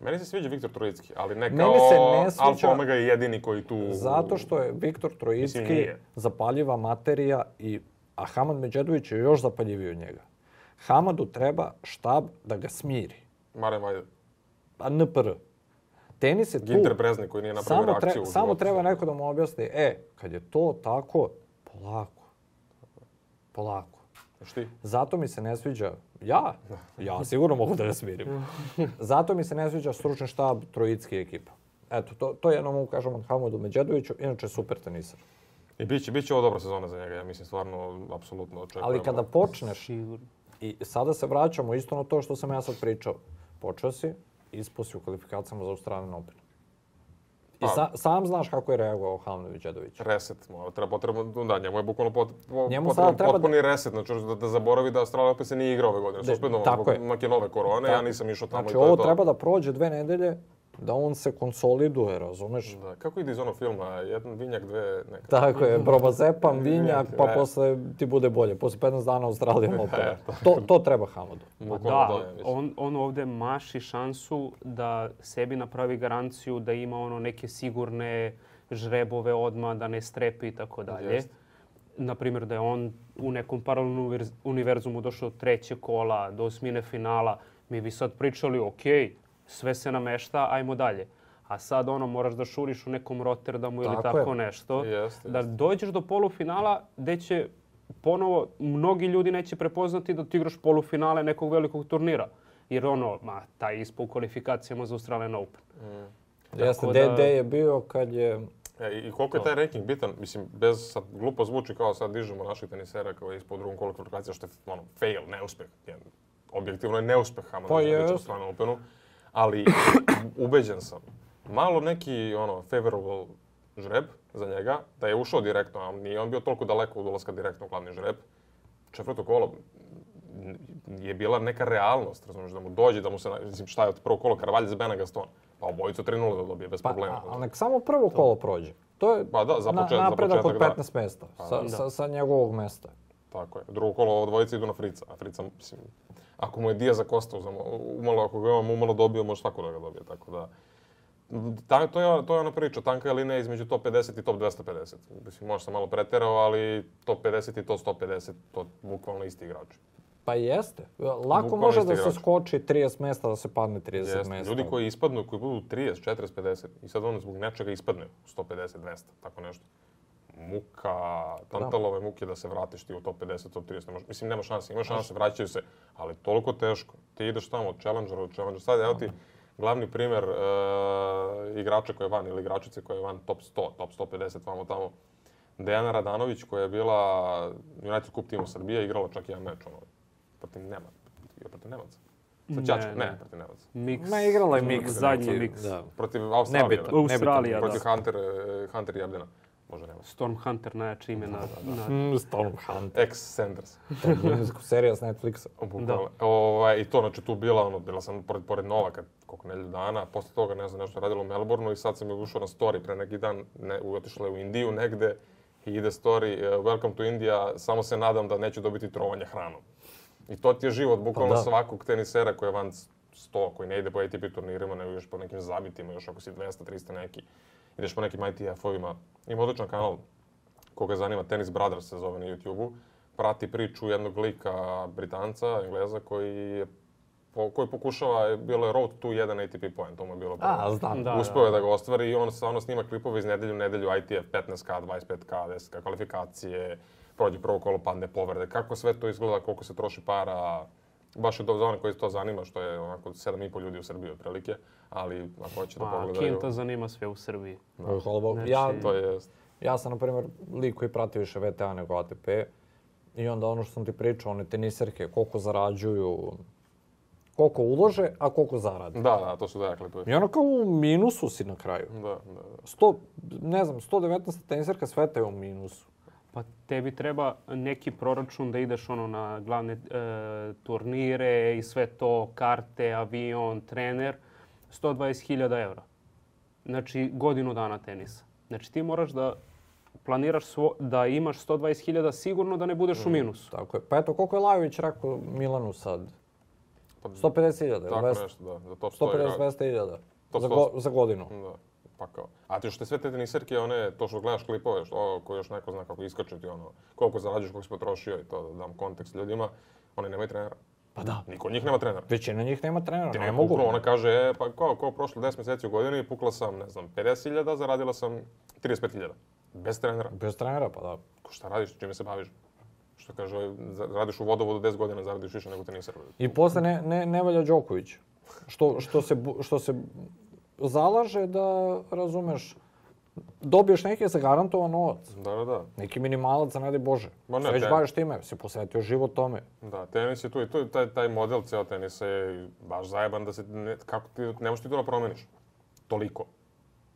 Meni se sviđa Viktor Trojicki, ali ne Meni kao se ne sviđa- Alfa Omega je jedini koji tu... Zato što je Viktor Mislim, Trojicki nije. zapaljiva materija, i, a Hamad Međedović je još zapaljiviji od njega. Hamadu treba štab da ga smiri. Maren Vajde, Pa NPR. Tenis je tu. Ginter Breznik koji nije napravio Samo, tre- reakciju. u samo životu. treba neko da mu objasni, e, kad je to tako, polako. Polako. Znaš ti? Zato mi se ne sviđa, ja, ja sigurno mogu da ga smirim. Zato mi se ne sviđa stručni štab Trojicki ekipa. Eto, to, to jednom mogu kažem Hamadu Međedoviću, inače super tenisar. I bit će, bit će ovo dobra sezona za njega, ja mislim stvarno, apsolutno očekujemo. Ali kada počneš, Sigurno. i sada se vraćamo isto na to što sam ja sad pričao. Počeo si, ispao si u kvalifikacijama za Australian Open. I Pa. sa- sam znaš kako je reagovao Hamnović Đedović. Reset, mora, treba potrebno, da, njemu je bukvalno pot, po- Njemu potreban sada treba da- potpuni reset, znači da, da zaboravi da Australija opet se nije igrao ove godine. Da, Suspendovano tako zbog je. Makinove korone, ja Tako. nisam išao tamo i Znači, to je ovo to. treba da prođe dve nedelje da on se konsoliduje, razumeš? Da, kako ide iz onog filma, jedan vinjak, dve, neka. Tako je, probazepam, vinjak, pa Ne. posle ti bude bolje. Posle 15 dana E, Australijan Open. To, to treba Hamadu. Ma Bukvalno Pa da, ono, da, ja mislim. on, on ovdje maši šansu da sebi napravi garanciju da ima ono neke sigurne žrebove odma, da ne strepi i tako dalje. Jeste. Naprimjer da je on u nekom paralelnom univerz- univerzumu došao do treće kola, do osmine finala. Mi bi sad pričali, ok, sve se namešta, ajmo dalje. A sad ono, moraš da šuriš u nekom Rotterdamu ili Tako je. tako nešto. Jeste, da dođeš do polufinala gdje će ponovo, mnogi ljudi neće prepoznati da ti igraš polufinale nekog velikog turnira. Jer ono, ma, taj ispo u kvalifikacijama za Australian Open. Jeste, da- DD je bio kad je... E, I i koliko je taj ranking bitan, mislim, bez, sad glupo zvuči kao sad dižemo naših tenisera kao je ispod drugom kolu kvalifikacija, što je ono, fail, neuspeh. Jedan, objektivno je neuspeh Hamada Pa Đorđevića jest. u stranom Openu, ali ubeđen sam, malo neki ono, favorable žreb, za njega, da je ušao direktno, a nije on bio toliko daleko od ulaska direktno u glavni žreb. Četvrto kolo m, je bila neka realnost, razumiješ, da mu dođe, da mu se, na- mislim, šta je od prvog kola, Karvalje za Benagas to on. Pa obojicu 3-0 da dobije, bez Pa, problema. a- ali nek samo prvo kolo prođe. To je Pa da, za početak- za napredak od početak, da. 15 mjesta, sa, sa, sa njegovog mjesta. Tako je. Drugo kolo dvojice idu na Frica, a Frica, mislim, ako mu je Diaz za Kosta uzamo, umalo, ako ga imamo umalo dobio, može svako da ga dobije, tako da... Ta, to, je, to je ona priča, tanka je linija između top 50 i top 250. Mislim, možda sam malo preterao, ali top 50 i top 150, to bukvalno isti igrači. Pa jeste. Lako Bukvalno može isti da se igrač. skoči 30 mjesta, da se padne 30 Jeste, mjesta. Ljudi koji ispadnu, koji budu 30, 40, 50 i sad on zbog nečega ispadne u 150, 200, tako nešto. Pa Muka, tantalove muke da se vratiš ti u top 50, top 30. ne moš- mislim, nema šanse, ima šanse, vraćaju se, ali toliko teško. Ti ideš tamo od challengera od challengera. Sad, evo ti glavni primer e, igrača koji je van ili igračice koja je van top 100, top 150, vamo tamo. Dejana Radanović koja je bila United Cup timu Srbije, igrala čak i jedan meč ono, protiv Nema, protiv Nemaca. Sa Ne, Ćačkom, ne, ne. protiv Nemaca. Miks. Ma igrala je Zadnji mix. Ono, Zadnji znači, mix. Da. Protiv Australije. Nebitno. da? Australija, Protiv da. Hunter, eh, Hunter Jabljana. Možda nema. Storm Hunter, najjače ime na... na- Mm, Stormhunt. Ex Sanders. serija s Netflixa. Bukvalno. Ovaj, I to, znači tu bila, ono, bila sam pored, pored Novaka koliko nelju dana, posle toga ne znam nešto radilo u Melbourneu i sad sam je ušao na story pre neki dan, ne, u- otišla je u Indiju negde i ide story, eh, welcome to India, samo se nadam da neću dobiti trovanje hranom. I to ti je život, bukvalno da. svakog tenisera koji je van 100, koji ne ide po ATP turnirima, nego još po nekim zabitima, još ako si 200, 300 neki, ideš po nekim ITF-ovima. Ima odličan kanal koga zanima, Tennis Brothers se zove na YouTube-u, prati priču jednog lika Britanca, Engleza, koji je po- koji pokušava, bilo je road to jedan ATP poen, to mu je bilo prvo. A, znam. Da, Uspeo je da ga ostvari i on stvarno snima klipove iz nedelju u nedelju ITF 15K, 25K, 10K, kvalifikacije, prođe prvo kolo, padne povrede. Kako sve to izgleda, koliko se troši para, baš je to za one koji to zanima, što je onako 7,5 ljudi u Srbiji otprilike, ali ako hoće da Ma, Kim pogledaju, to zanima sve u Srbiji. Oj, hvala Bogu. Ja, to je ja sam, na primjer, lik koji prati više VTA nego ATP. I onda ono što sam ti pričao, one teniserke, koliko zarađuju, koliko ulože, a koliko zarade. Da, da, to su da klipovi. I ono kao u minusu si na kraju. Da, da, da. 100, ne znam, 119 teniserka sveta je u minusu. Pa tebi treba neki proračun da ideš ono na glavne e, turnire i sve to, karte, avion, trener, 120.000 evra. Znači godinu dana tenisa. Znači ti moraš da planiraš svo, da imaš 120.000 sigurno da ne budeš u Mhm. minusu. Tako je. Pa eto, koliko je Lajović rekao Milanu sad? Pa, 150.000, tako dvest- nešto, da, za top 100 igrača. 150-200.000 To za, posto. go- za godinu. Da, pa kao. A ti što sve te teniserke, one, to što gledaš klipove, što, o, koji još neko zna kako iskače ti ono, koliko zarađuješ, koliko si potrošio i to, da dam kontekst ljudima, oni nemaju trenera. Pa da. Niko od njih nema trenera. Većina njih nema trenera, ne Ona mogu. pukla, ona kaže, e, pa kao, kao prošlo 10 mjeseci u godini, pukla sam, ne znam, 50.000, zaradila sam 35.000. Bez trenera. Bez trenera, pa da. Ko, Šta radiš, čime se baviš? Što kaže, ovaj, za- radiš u vodovodu 10 godina, zaradiš više nego teniser. I posle ne, ne, ne valja Đoković. Što, što, se, bu- što se zalaže da, razumeš, dobiješ neki zagarantovan novac. Da, da, da. Neki minimalac, a ne daj Bože. Ma ne, Se već te- baviš time, si posvetio život tome. Da, tenis je tu i tu, je taj, taj model ceo tenisa je baš zajeban da se, ne, kako ti, ne možeš ti to da promeniš. Toliko.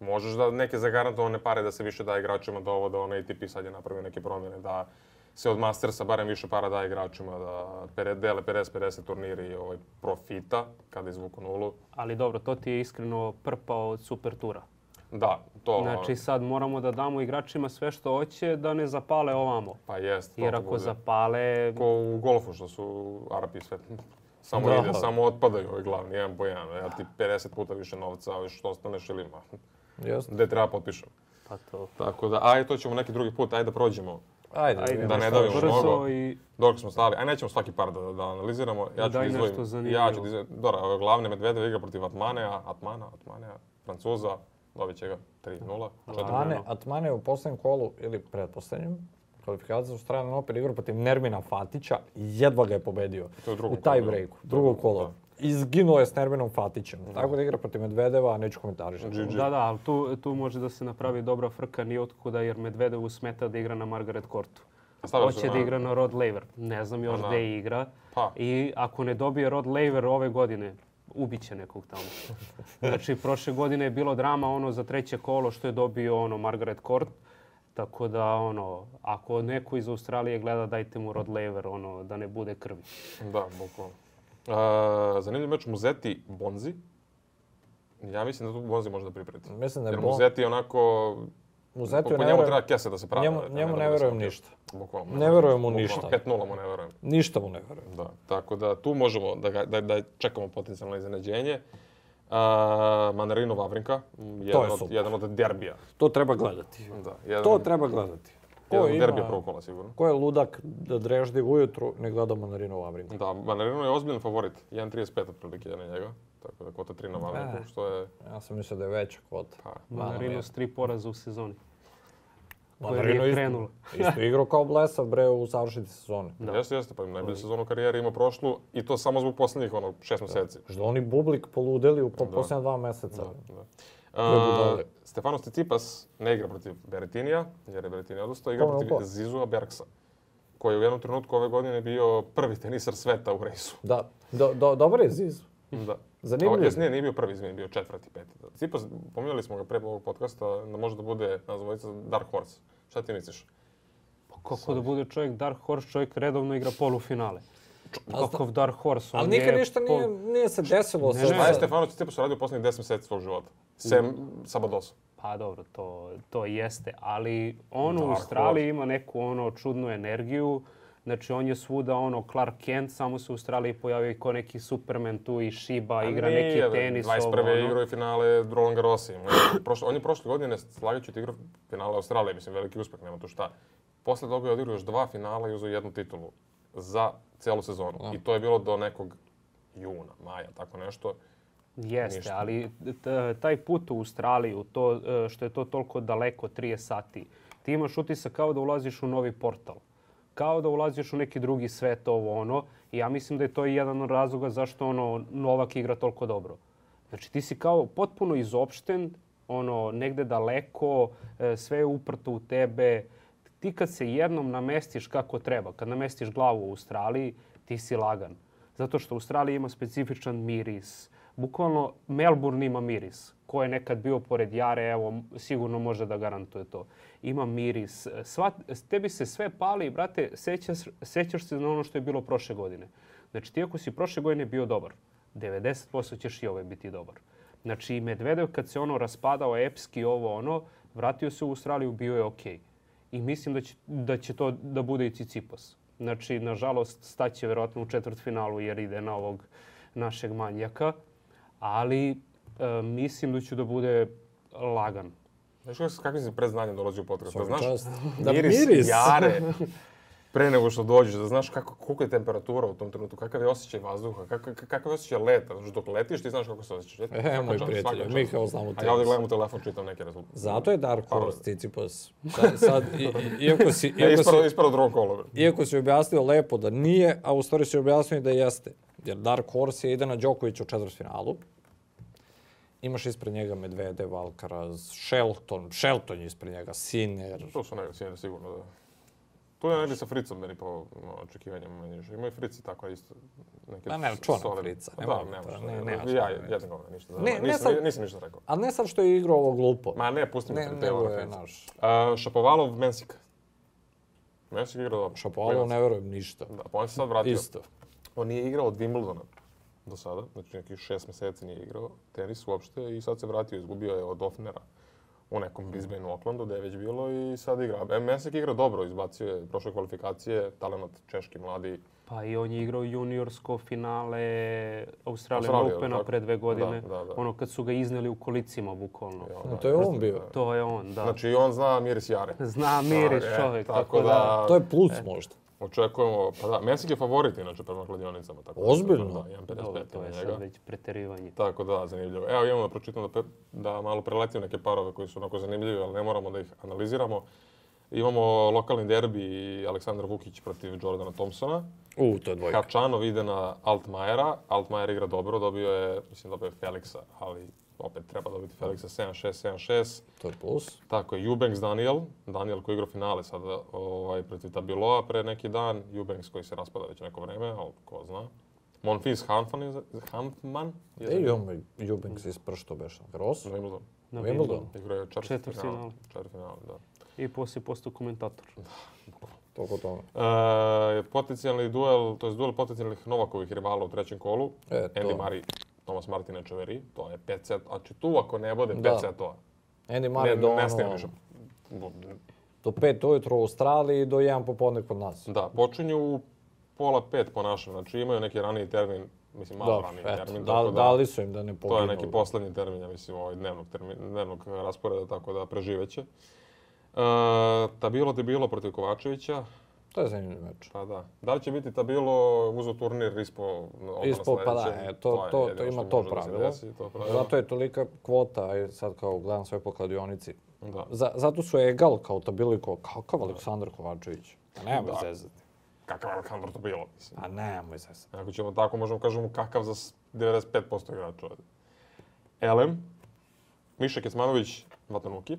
Možeš da neke zagarantovane pare da se više daje igračima da ovo, da onaj ATP sad je napravio neke promjene, da se od Mastersa barem više para daje igračima, da pere- dele 50-50 turniri ovaj, profita kada izvuku nulu. Ali dobro, to ti je iskreno prpao od supertura. Da, to Znači sad moramo da damo igračima sve što hoće da ne zapale ovamo. pa jest. to Jer to ako bude. zapale, Ko u golfu što su Arapi sve samo Da. ide, samo otpadaju ovaj glavni, jedan po jedan. Ja ti 50 puta više novca, a još što ostaneš ili ma, Jeste. gde treba potpišem. pa to. Tako da, aj to ćemo neki drugi put, aj da prođemo. Ajde, Ajde, Da ne nešto davimo brzo mnogo. i Dok smo stali, aj nećemo svaki par da, da analiziramo. Ja ću Daj da izdvojim- nešto zanimljivo. Ja ću da izdvojim- Dobra, ove glavne Medvedeva igra protiv Atmanea, Atmana, Atmanea, Francuza, dobit će ga 3-0. četiri- Atmane, Atmane je u posljednjem kolu ili pretposlednjem kvalifikacija u stranu opet igrao protiv Nermina Fatića i jedva ga je pobedio To je u drugom taj kolu, da. breaku, drugo kolo. Izginuo je s Nerminom Fatićem. Tako da igra protiv Medvedeva, a neću komentarišati. GG. Da, da, ali tu, tu može da se napravi dobra frka ni otkuda jer Medvedevu smeta da igra na Margaret Courtu. A stavili su Hoće na- da igra na Rod Laver. Ne znam još Aha. gdje igra. Pa. I ako ne dobije Rod Laver ove godine, ubiće nekog tamo. Znači, prošle godine je bilo drama ono za treće kolo što je dobio ono Margaret Court. Tako da, ono, ako neko iz Australije gleda, dajte mu Rod Laver, ono, da ne bude krvi. Da, bukvalno. E, zanimljiv meč Muzeti Bonzi. Ja mislim da tu Bonzi može da pripreti. Mislim da je Jer Bon- Muzeti je onako... Muzetiju Pa po Pa ne njemu verujem- treba kese da se pravi. njemu- njemu ne verujem ništa. Bukvalno. Ne verujem mu Bukvalno, ništa. 5-0 mu ne verujem. Ništa mu ne verujem. Da, tako da tu možemo da, ga, da, da čekamo potencijalno iznenađenje. A, Mandarino Vavrinka, m, jedan, od, super. jedan od derbija. To treba gledati. Da, jedan, To treba gledati. Ko, jedan od ima, derbija prvog kola sigurno. ko je ludak da dreždi ujutru, ne gleda Mandarinu Vavrinku. Da, Mandarino je ozbiljan favorit, 1.35 otprilike je na njega. Tako da kota 3 na E. Vavrinku, što je... Ja sam mislio da je veća kvota. Pa, Mandarino s tri poraza u sezoni. Koja Mandarino je isto- krenula. Isto igrao kao blesav, bre, u završiti sezoni. Da. Jeste, jeste, pa najbolju sezonu karijere imao prošlu i to samo zbog posljednjih ono, šest mjeseci. Što oni bublik poludeli u po posljednja dva mjeseca. Da. budale. A, Stefanos Tsitsipas ne igra protiv Beretinija, jer je Beretinija odustao, igra Kome je protiv upao? Zizua Berksa, koji je u jednom trenutku ove godine bio prvi tenisar sveta u rejsu. Da, do, do, dobar je Ziz. Da. Zanimljivo. Ovo, jes, nije, nije bio prvi, izmeni, bio četvrti, peti. Da. Tsipas, pominjali smo ga pre ovog podcasta, da može da bude, nas dvojica, Dark Horse. Šta ti misliš? Pa kako da bude čovjek Dark Horse, čovjek redovno igra polufinale. A Kakav Dark Horse, on Pa Ali nikad je ništa pol- Pa nije, nije se desilo. sa- Šta je Stefanos Tsitsipas radio posljednjih 10 mjeseci svog života? Sem Mm. Sabadosa. Pa dobro, to, to jeste, ali on u Dark Australiji ima neku ono čudnu energiju. Znači on je svuda ono Clark Kent, samo se u Australiji pojavio i ko neki Superman tu i Shiba, igra Nije, neki bre, tenis. 21. ovo, ono. igrao je finale Roland Garrosi. Prošlo, on je prošle godine slagajući ti igrao finale Australije, mislim veliki uspjeh, nema tu šta. Posle toga je odigrao još dva finala i uzeo jednu titulu za celu sezonu. I to je bilo do nekog juna, maja, tako nešto. Jeste, Ništa. ali t- taj put u Australiju, to, e, što je to toliko daleko, 30 sati, ti imaš utisak kao da ulaziš u novi portal. Kao da ulaziš u neki drugi svet, ovo ono. I ja mislim da je to jedan od razloga zašto ono, Novak igra toliko dobro. Znači ti si kao potpuno izopšten, ono, negde daleko, e, sve je uprto u tebe. Ti kad se jednom namestiš kako treba, kad namestiš glavu u Australiji, ti si lagan. Zato što Australija ima specifičan miris. Bukvalno Melbourne ima miris. Ko je nekad bio pored Jare, evo, m- sigurno može da garantuje to. Ima miris. Sva, tebi se sve pali, brate, sećaš, sećaš se na ono što je bilo prošle godine. Znači, ti ako si prošle godine bio dobar, 90% ćeš i ove biti dobar. Znači, i Medvedev kad se ono raspadao epski, ovo ono, vratio se u Australiju, bio je okej. I mislim da će, da će to da bude i Cicipos. Znači, nažalost, staće vjerojatno u četvrt finalu jer ide na ovog našeg manjaka. Ali e, mislim da će da bude lagan. Znaš kako s kakvim si predznanjem dolazi u podcast? Da Svaka znaš čast. Da miris, miris. jare pre nego što dođeš, da znaš kako, koliko je temperatura u tom trenutku, kakav je osjećaj vazduha, kakav, kakav je osjećaj leta. Znaš, dok letiš ti znaš kako se osjećaš. E, moj prijatelj, mi kao znamo A ja ovdje tenis. gledam u telefon, čitam neke rezultate. Zato je Dark Horse Cicipos. Sad, sad i- i- iako, si, Ja iako, ispravo, si, ispravo drugo kolo. bre. iako si objasnio lepo da nije, a u stvari si objasnio i da jeste. Jer Dark Horse je ide na Đokovića u četvrtfinalu. Imaš ispred njega Medvedev, Alcaraz, Shelton. Shelton je ispred njega, Sinner. To su najveći sjene, sigurno da. Tu je negdje sa Fricom meni po no, očekivanjima manje više. Imaju Frici tako isto. Neke A ne, s- čuvam solidne. Frica, Pa nemoj Da, to, ne može. ne, Ne, nema ne, šta ja da jednom govore, ništa. Ne, ne Ne, nisam, sad- nisam ništa rekao. A ne sad što je igrao ovo glupo. Ma ne, ono pusti mi Ne, sam nego tema je na naš. Frica. Šapovalov, Mensik. Mensik igra dobro. Šapovalov ne verujem ništa. Da, pa on se sad vratio. Isto. On nije igrao od Wimbledona do sada, znači nekih šest mjeseci nije igrao tenis uopšte i sad se vratio, izgubio je od Offnera u nekom Brisbaneu, Aucklandu, gdje je već bilo i sad igra. E, Mesek igra dobro, izbacio je prošle kvalifikacije, talenat češki mladi. Pa i on je igrao juniorsko finale Australian Australije, Opena tako? pre dve godine. Da, da, da. Ono kad su ga izneli u kolicima, bukvalno. i No, onaj- E, to je on bio. To je on, da. Znači i on zna miris jare. Zna miris E, čovjek, tako, da, To je plus možda. očekujemo, pa da, Mesek je favorit inače prema kladionicama. Tako da, Ozbiljno? Da, Dobro, 1.55 to na je njega. sad već preterivanje. Tako da, zanimljivo. Evo imamo da pročitam da, pe- da malo preletimo neke parove koji su onako zanimljivi, ali ne moramo da ih analiziramo. Imamo lokalni derbi i Aleksandar Vukić protiv Jordana Thompsona. U, to je dvojka. Kačanov ide na Altmajera. Altmajer igra dobro, dobio je, mislim, dobio je Felixa, ali opet treba dobiti Felixa 7-6, 7-6. To je plus. Tako je, Eubanks Daniel, Daniel koji igra finale sada ovaj, protiv Tabiloa pre neki dan, Eubanks koji se raspada već neko vreme, ali ko zna. Monfils Hanfman je, za- Hanfman je Ej, on me Jubings ispršto beš na Grosu. za Wimbledon. na Wimbledonu. Wimbledonu. Igrao je četvrtfinale. Četvrtfinale. Četvrtfinale, da. I poslije postao komentator. Toliko o tome. E, potencijalni duel, to je duel potencijalnih Novakovih rivala u trećem kolu. E, to. Andy Murray, Thomas Martin Echeverry, to je 5 set, a će tu ako ne bude 5 Da. setova. Andy Ne, Murray do, ne ono, snima više. do pet ujutro u Australiji i do jedan popodne kod nas. Da, počinju u pola pet po našem, znači imaju neki raniji termin, mislim malo Dobro, raniji eto, termin, da, tako da, dali su im da ne to poginu. je neki posljednji termin, ja mislim, ovaj dnevnog, termin, dnevnog rasporeda, tako da preživeće. E, tabilo ti bilo protiv Kovačevića, To je zanimljiv meč. Pa da. Da li će biti tabilo uzo turnir ISPO odmah na Ispo, pa da, sljedećem? e, to- je to- jedino to ima što to može da se pravilo. desi, to pravilo. Zato je tolika kvota, aj sad kao gledam sve po kladionici. Da. Za- zato su Egal kao tabili kao kakav Aleksandar Kovačević. A nemoj Da. zezati. Kakav Alejandro to bilo, mislim. A nemoj zezati. Ako ćemo tako, možemo kažemo kakav za s- 95% igrača ovdje. Elem, Miša Kecmanović, Vatanuki,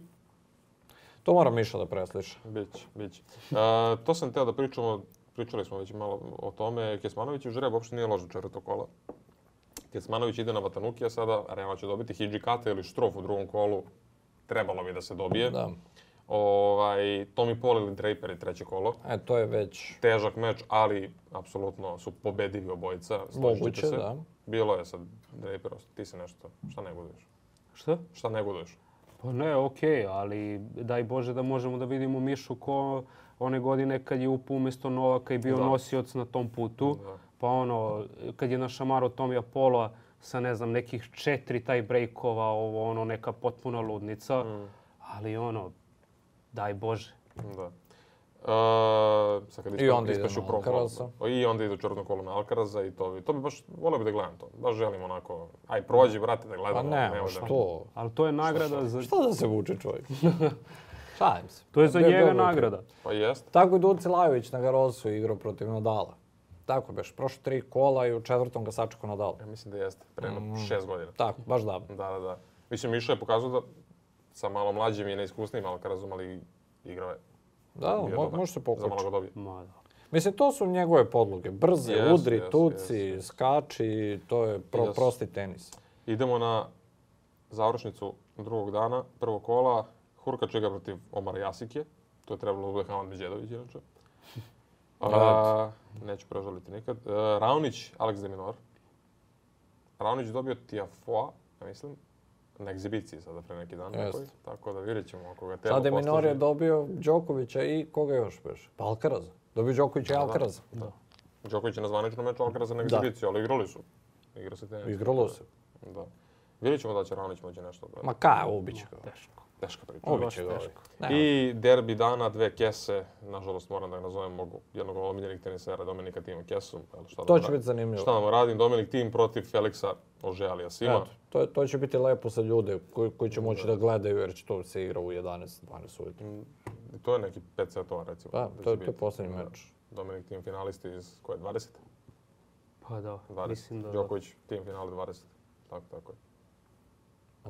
To mora Miša da presliša. Bić, Bić. E, to sam teo da pričamo, pričali smo već malo o tome. Kecmanović u žreb uopšte nije ložio četvrto kola. Kecmanović ide na Vatanuki, a sada Real će dobiti Hidžikata ili Štrof u drugom kolu. Trebalo bi da se dobije. Da. Ovaj, Tommy Paul ili Draper je treće kolo. E, to je već Težak meč, ali apsolutno su pobedivi obojica. složit ćete moguće, se. da. Bilo je sad Draper, ti si nešto, šta ne goduješ? Šta? Šta ne goduješ? Pa ne, okej, ali daj Bože da možemo da vidimo Mišu ko one godine kad je upao umjesto Novaka i bio Da. nosioc na tom putu. Da. Pa ono, kad je našamarao Tomija Pola sa ne znam nekih četiri taj brejkova, ovo ono neka potpuna ludnica. Ali ono, daj Bože. Da. E, sad kad I onda ide ispaš na u prvom kolu. Alcaraza. O, I onda ide u četvrtno kolo na Alcaraza i to bi, to bi baš, volio bi da gledam to. Baš želim onako, aj prođi, brate, da Pa gledamo. ne, nemoj da- što? Ali to je nagrada za... Šta da se vuče čovjek? Šalim se. To je za Be- njega dobro. nagrada. Pa jest. Tako je Duci Lajović na Garosu igrao protiv Nadala. Tako beš, prošlo tri kola i u četvrtom ga sačekao Nadal. Ja mislim da jeste, pre jedno Mm. šest godina. Tako, baš davno. Da, da, da. Mislim, Miša je pokazao da sa malo mlađim i neiskusnim Alcarazom, ali igrao je. Da, Bio mo- dobar. može se Za malo pokući. ga dobije. Ma da. Mislim, to su njegove podloge. Brze, Jesu, udri, jesu, tuci, skači, to je pro- Jesu. prosti tenis. Idemo na završnicu drugog dana, prvo kola. Hurkač igra protiv Omara Jasike. To je trebalo uvijek Haman Međedović, inače. Pa A, neću prežaliti nikad. E, Raonić, Alex de Minor. Raonić dobio Tiafoa, ja mislim, na egzibiciji sada pre neki dan. Jest. nekoj. Tako da vidjet ćemo ako ga tema Sada je Minor je posluži. dobio Đokovića i koga još beš? Pa Alcaraza. Dobio Đokovića i da. Alcaraza. Đoković je na zvaničnom meču Alcaraza na Da. egzibiciju, ali igrali su. Igra se tenis. Igralo se. Da. Vidjet ćemo da će Raonić moći nešto. da- Ma kaj, ubiće ga. Teško. Teška priča. baš Ubiće ga. ovaj. teško. Nema. I derbi dana, dve kese, nažalost moram da ga nazovem mogu, jednog od omiljenih tenisera, Dominika Tima Kesu. ali šta da To mu će radim? biti zanimljivo. Šta da mu radim, Dominik Tim protiv Felixa Ožealija Sima. Eto, to, to će biti lepo za ljude koji, koji će moći da gledaju jer će to se igra u 11-12 ujutro. I To je neki 5 setova recimo. Pa, da to, je- će to je biti. posljednji Da. meč. Dominik Tim finalisti iz koje, 20? Pa da, 20. mislim da... da. Đoković, Tim finale 20. Tako, tako je. A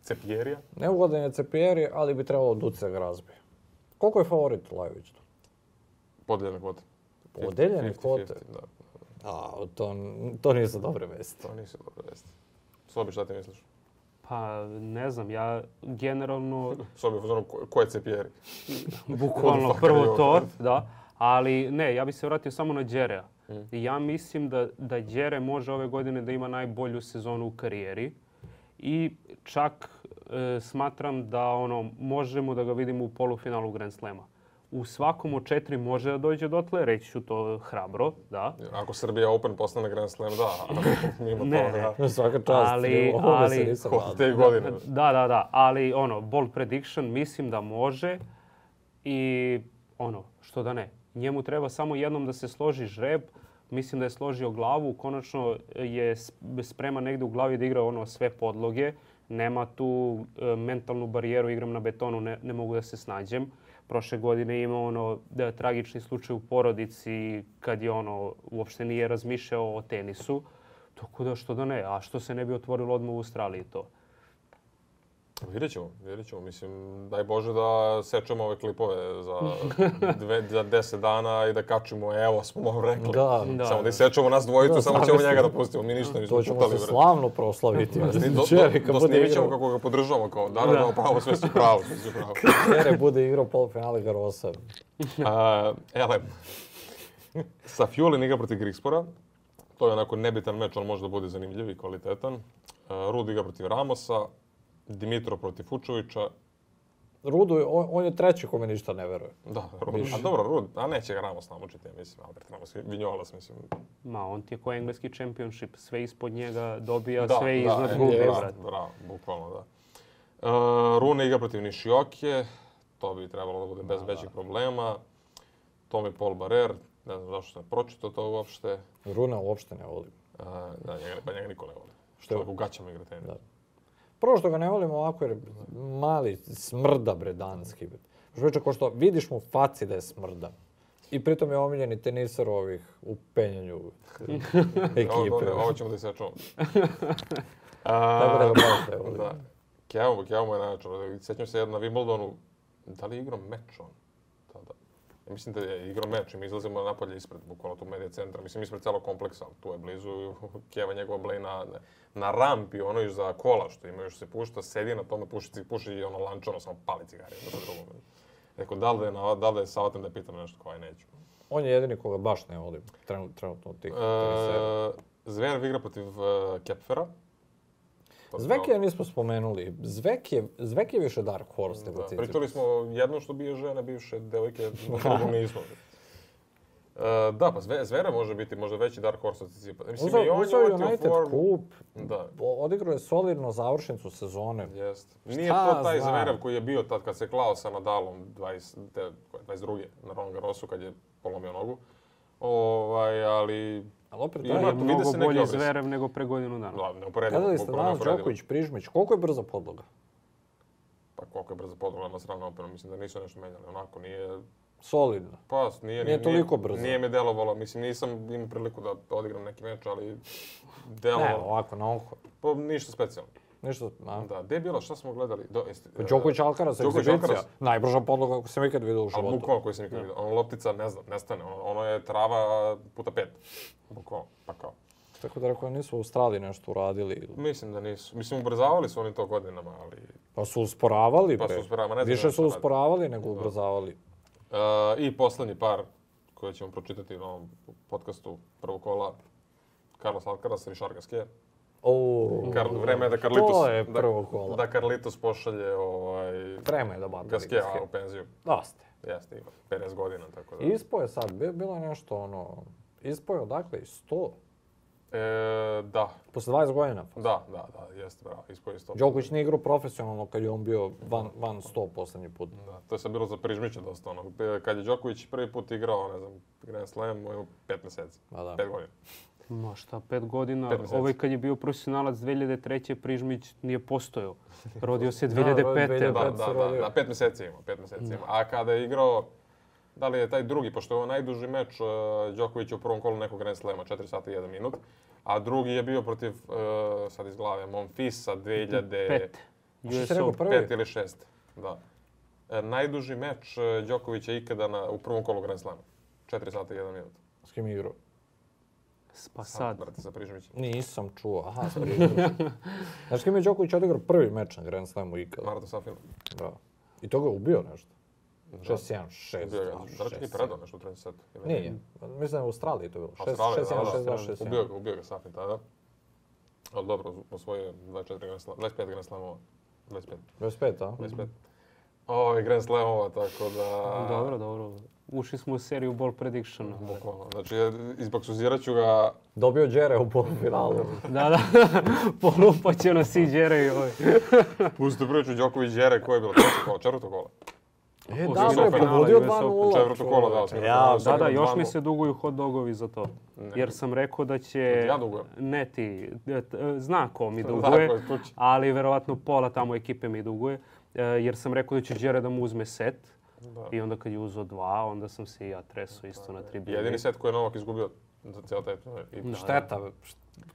Cepierija. Neugodan je Cepieri, ali bi trebalo Duce ga razbije. Koliko je favorit Lajović tu? Podeljene kvote. Podeljene 50-50, kvote? Da, A, to, to nisu dobre vesti. to nisi dobro vesti. Sobi, šta ti misliš? Pa ne znam, ja generalno, Sobi, u fazonu, ko, ko je Cepieri? bukvalno fuck Ono, prvo are you, to, da, ali ne, ja bi se vratio samo na Đerea. I Ja mislim da, da Đere može ove godine da ima najbolju sezonu u karijeri i čak e, smatram da ono možemo da ga vidimo u polufinalu Grand Slema. U svakom od četiri može da dođe dotle, reći ću to hrabro, da. Jer Ako Srbija Open postane Grand Slam, da, ali mimo Ne, toga, ne. da. Svaka čast, Ali- ali, ovome se ali- nisam Ko nadao. te godine. Da, da, da, ali ono, bold prediction mislim da može i ono, što da ne. Njemu treba samo jednom da se složi žreb, mislim da je složio glavu, konačno je s- spreman negdje u glavi da igra ono sve podloge, Nema tu e, mentalnu barijeru, igram na betonu, ne, ne mogu da se snađem. Prošle godine ima ono da, tragični slučaj u porodici kad je ono uopšte nije razmišljao o tenisu. Tako da što da ne, a što se ne bi otvorilo odmah u Australiji to. Vidjet ćemo, vidjet ćemo. Mislim, daj Bože da sečemo ove klipove za, dve, za deset dana i da kačimo, evo smo vam rekli. Da. Da. samo da i sečemo nas dvojicu, Da, samo sami ćemo smo. njega da pustimo. Mi ništa nismo To ćemo se čutali. slavno proslaviti. Do, do, do Čerika bude snimit ćemo igrao, kako ga podržavamo kao da, da, da, pravo, sve si pravo, sve si pravo. Čere bude igrao polufinale Garosa. A, elem, sa Fjulin igra protiv Grigspora. To je onako nebitan meč, ali može da bude zanimljiv i kvalitetan. A, Rud igra protiv Ramosa, Dimitro protiv Fučovića. Rudu, je- on, on je treći kome ništa ne veruje. Da, Rud. A dobro, Rud, a neće ga Ramos namučiti, ja mislim, Albert Ramos, Vinjolas, mislim. Ma, on ti je ko engleski championship, sve ispod njega dobija, Da, sve da, iznad e, gubi, bravo, brate. Bravo, bukvalno, da. E, Rune igra protiv Nišioke, to bi trebalo da bude bez većih problema. Tomi Paul Barer, ne znam zašto sam pročitao to uopšte. Runa uopšte ne voli. E, da, njega, pa njega niko ne voli. Što? Što je u gaćama igra tenis. Da. Prvo što ga ne volim ovako jer je mali smrda bre danski. bre. Što priča ko što vidiš mu u faci da je smrda. I pritom je omiljeni tenisar ovih u penjanju Ovo, ekipe. dobro, ovo ćemo da isečemo. Tako A, da ga baš ne volim. da. Kjavo, Kjavo je najjačo. Sjećam se jedna na Wimbledonu, da li je igrao meč on tada? Ja mislim da je igrao meč i mi izlazimo napolje ispred, bukvalno tu medija centra, mislim ispred celog kompleksa, ali tu je blizu Kjeva njegova blej na, na rampi, ono još za kola što ima, još se pušta, sedi na tome, puši, ci- puši i ono lančano, samo pali cigare, jedno po drugom. Rekao, da li da je, na, da li da je savjetan da je pitam nešto, kao aj neću. On je jedini koga baš ne volim trenut- trenutno od tih tenisera. E, Zverev igra protiv uh, Kepfera. To je Zvekija nismo spomenuli. Zvek je, Zvek je više Dark Horse nego Da, Tsitsipas. pričali smo jedno što bije žene, bivše devojke, na drugo nismo. E, da, pa Zve, Zvera može biti možda veći Dark Horse od Tsitsipas. Mislim, i Uzeo, on uzeo je je uletio u United formu. kup, Da, o- odigrao je solidno završnicu sezone. jest. Nije Šta to taj znam? Zverev koji je bio tad kad se klao sa Nadalom 20, te- koje, 22. na Roland Garrosu kad je polomio nogu. Ovaj, ali... Ali opet, Ima- Ali je Vide se mnogo neki bolji obrisi. Zverev nego pre godinu dana. Da, neuporedivo. gledali ste bukvalno danas neuporedivo. Đoković, Prižmić, koliko je brza podloga? Pa koliko je brzo podrola na stranu openu, mislim da nisu nešto menjali. Onako, nije Solidno. Pa, nije, Nije toliko brzo. Nije mi delovalo, mislim, nisam imao priliku da odigram neki meč, ali Ne, delovalo. ovako, na oko. Pa, ništa specijalno. Ništa, a? Pa, Da, gde je bilo, šta smo gledali? Do, jeste, e, Đoković Alcaraz, Đoković egzibicija. Alcaraz. Najbrža podloga koju sam ikad vidio u Ali životu. e, bukvalno koji sam nikad vidio. Ono loptica, ne znam, nestane. Ono, ono je trava puta pet. Bukvalno, pa kao. Tako da rekao, nisu u Australiji nešto uradili. Mislim da nisu. Mislim, ubrzavali su oni to godinama, ali... Pa su usporavali, Pa bre. su usporavali, ne znam Više šta su radi. usporavali nego ubrzavali. E, I poslednji par koje ćemo pročitati na ovom podcastu prvog kola. Carlos Alcaraz, Richard Gasquet. O, Kar, vreme je da Carlitos... To je da- prvo kolo. Da Carlitos pošalje ovaj, Vreme je da batali. Gaskeva u penziju. Dosta. Jeste, ima 50 godina, tako da. Ispo je sad, bi- bilo je nešto ono, ispo je odakle, iz 100, E, da, posle 20 godina. da, da, da, jeste, bravo, ispoj isto. Đoković nije igrao profesionalno kad je on bio van, van 100 poslednji put. Da, to je sad bilo za Prižmića dosta, ono, e, kad je Đoković prvi put igrao, ne znam, Grand Slam, u 5 meseci, Ma da. 5 godina. Ma šta, pet godina. Pet meseci. ovaj kad je bio profesionalac 2003. Prižmić nije postojao. Rodio se Da, rodio 2005. Da, Pet da, da, se rodio. da, 5 meseci ima, 5 meseci ima. A kada je igrao, da li je taj drugi, pošto je ovo najduži meč, e, Đoković je u prvom kolu nekog Grand Slema, 4 sata i 1 minut, a drugi je bio protiv, e, sad iz glave, Monfisa 2000... Pet. Što US si rekao Open. prvi? Pet ili šest, da. E, najduži meč e, Đokovića ikada na, u prvom kolu Grand Slama. Četiri sata i jedan minut. S kim je igrao? Pa sad. Brate, sa Prižmićem. Nisam čuo, aha, s Znaš s kim je Đoković odigrao prvi meč na Grand Slamu ikada? Marta Safin. Bravo. I toga je ubio nešto. 6-1, 6 Bio ga. Znači je predao nešto u trećem setu. ili ne? Nije, mislim da je u Australiji to bilo. 6-1, Australija, da, da, 6-2, 6-1. Ubio ga, ubio ga Safin tada. Ali dobro, osvojio je 24 Grand Slam, 25 Grand Slamova. 25, 25, a? 25. Ove Grand Slamova, tako da... Dobro, dobro. Ušli smo u seriju Ball Prediction. Bukvalno. Znači, izboksuzirat ću ga Dobio Đere u polufinalu. Da, da. Polupat će nas i Đere i ovaj. Uz Dobroviću Đoković Đere, koje je bilo treće kolo, četvrto kolo. E, U da, semifinale bre, pogodio US Open, 2-0. četvrto kolo, da, čoveče. četvrto Ja, kolo. Da, da, Sad još imamo mi dva- se duguju hot dogovi za to. Jer sam rekao da će... Znači, Ja dugujem. Ne ti, e, t- e, zna ko mi Zna duguje, ko je kući. ali verovatno pola tamo ekipe mi duguje. e, Jer sam rekao da će Jared da mu uzme set. I onda kad je uzeo dva, onda sam se i ja treso isto na tribini. Jedini set koji je Novak izgubio za cijel taj turnir. I, Šteta.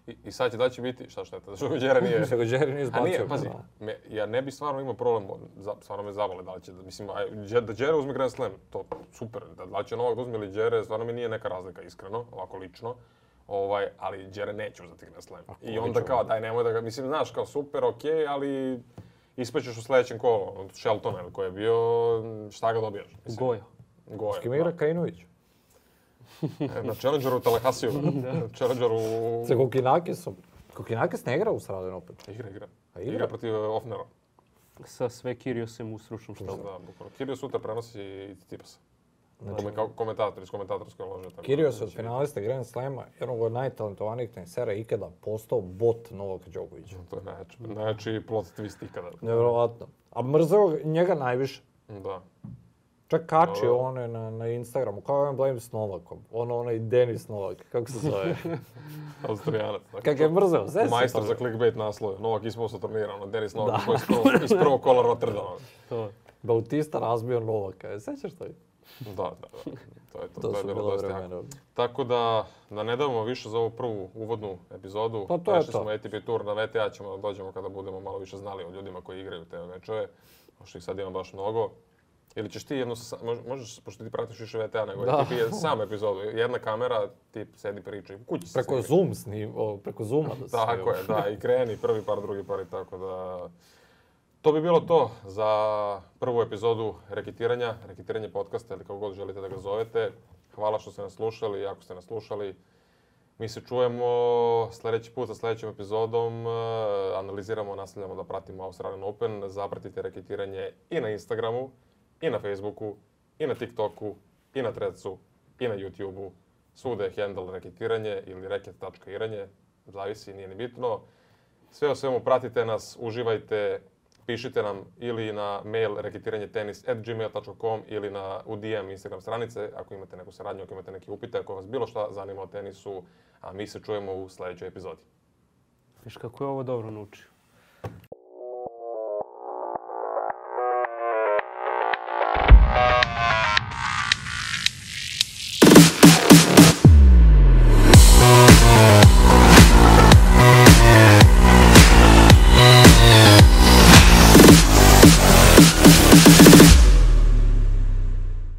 i, I sad će da će biti, šta šteta, zašto ga Đera nije... Što ga Jerry nije A nije, izbacio. pazi, da. me- ja ne bi stvarno imao problem, za, stvarno me zavole da li će, mislim, aj, Đe- da Đere uzme Grand Slam, to super, da, da li će Novak da uzme ili Đere, stvarno mi nije neka razlika, iskreno, ovako lično, ovaj, ali Đere neće uzeti Grand Slam. I onda kao, daj, nemoj da ga, mislim, znaš, kao super, okej, ali ispećeš u sljedećem kolu, od Sheltona ili koji je bio, šta ga dobijaš? Mislim, Goja. Goja. S kim igra Kajinović? da. Na Challengeru u Telehasiju, na Challengeru u... Sa Kokinakisom. Kokinakis ne igra u Australijan Open. Igra, igra. A igra? Igra protiv eh, Ofnera. Sa sve Kiriosem u stručnom štabu. Da, bukvalno. Kirio sutra prenosi i Tipasa. Znači, kao komentator, iz komentatorske lože. tako da, Kyrgios je od znači, finalista Grand Slema, jednog od najtalentovanijih tenisera ikada postao bot Novak Đokovića. To je najjači, najjači plot twist ikada. Nevjerovatno. A mrzeo ga- njega najviše. Da. Čak kačio Dobro. one na, na Instagramu, kao je blame s Novakom. Ono, onaj Denis Novak, kako se zove. Austrijanac. Dakle, Kako je mrzeo, sve se Majstor za clickbait naslove. Novak isposao turnira, ono, Denis Novak koji je iz prvog- iz prvog kola Rotterdama. To. Bautista razbio Novaka, je, sećaš to? Da, da, da. To je to. To je su bilo bila dosta jako. vremena. Tako da, da ne davamo više za ovu prvu uvodnu epizodu. Pa to je Prešli to. smo ATP Tour na VTA, ćemo da dođemo kada budemo malo više znali o ljudima koji igraju te mečeve, pošto ih sad ima baš mnogo. Ili ćeš ti jednu, sa- mož- možeš, pošto ti pratiš više VTA nego ATP, je sam epizodu. Jedna kamera, ti sedi priča i kući se Preko snimi. Zoom snim, o, preko Zooma da se Tako je, da, i kreni prvi par, drugi par i tako da... To bi bilo to za prvu epizodu reketiranja, reketiranje podcasta ili kako god želite da ga zovete. Hvala što ste nas slušali, ako ste nas slušali. Mi se čujemo sljedeći put sa sljedećim epizodom. e, Analiziramo, nastavljamo da pratimo Australian Open. Zapratite reketiranje i na Instagramu, i na Facebooku, i na TikToku, i na Trecu, i na YouTubeu. Svuda je handle reketiranje ili reket.iranje, zavisi, nije ni bitno. Sve o svemu, pratite nas, uživajte, pišite nam ili na mail reketiranjetenis.gmail.com ili na u DM Instagram stranice ako imate neku saradnju, ako imate neke upite, ako vas bilo šta zanima o tenisu, a mi se čujemo u sljedećoj epizodi. Viš kako je ovo dobro naučio.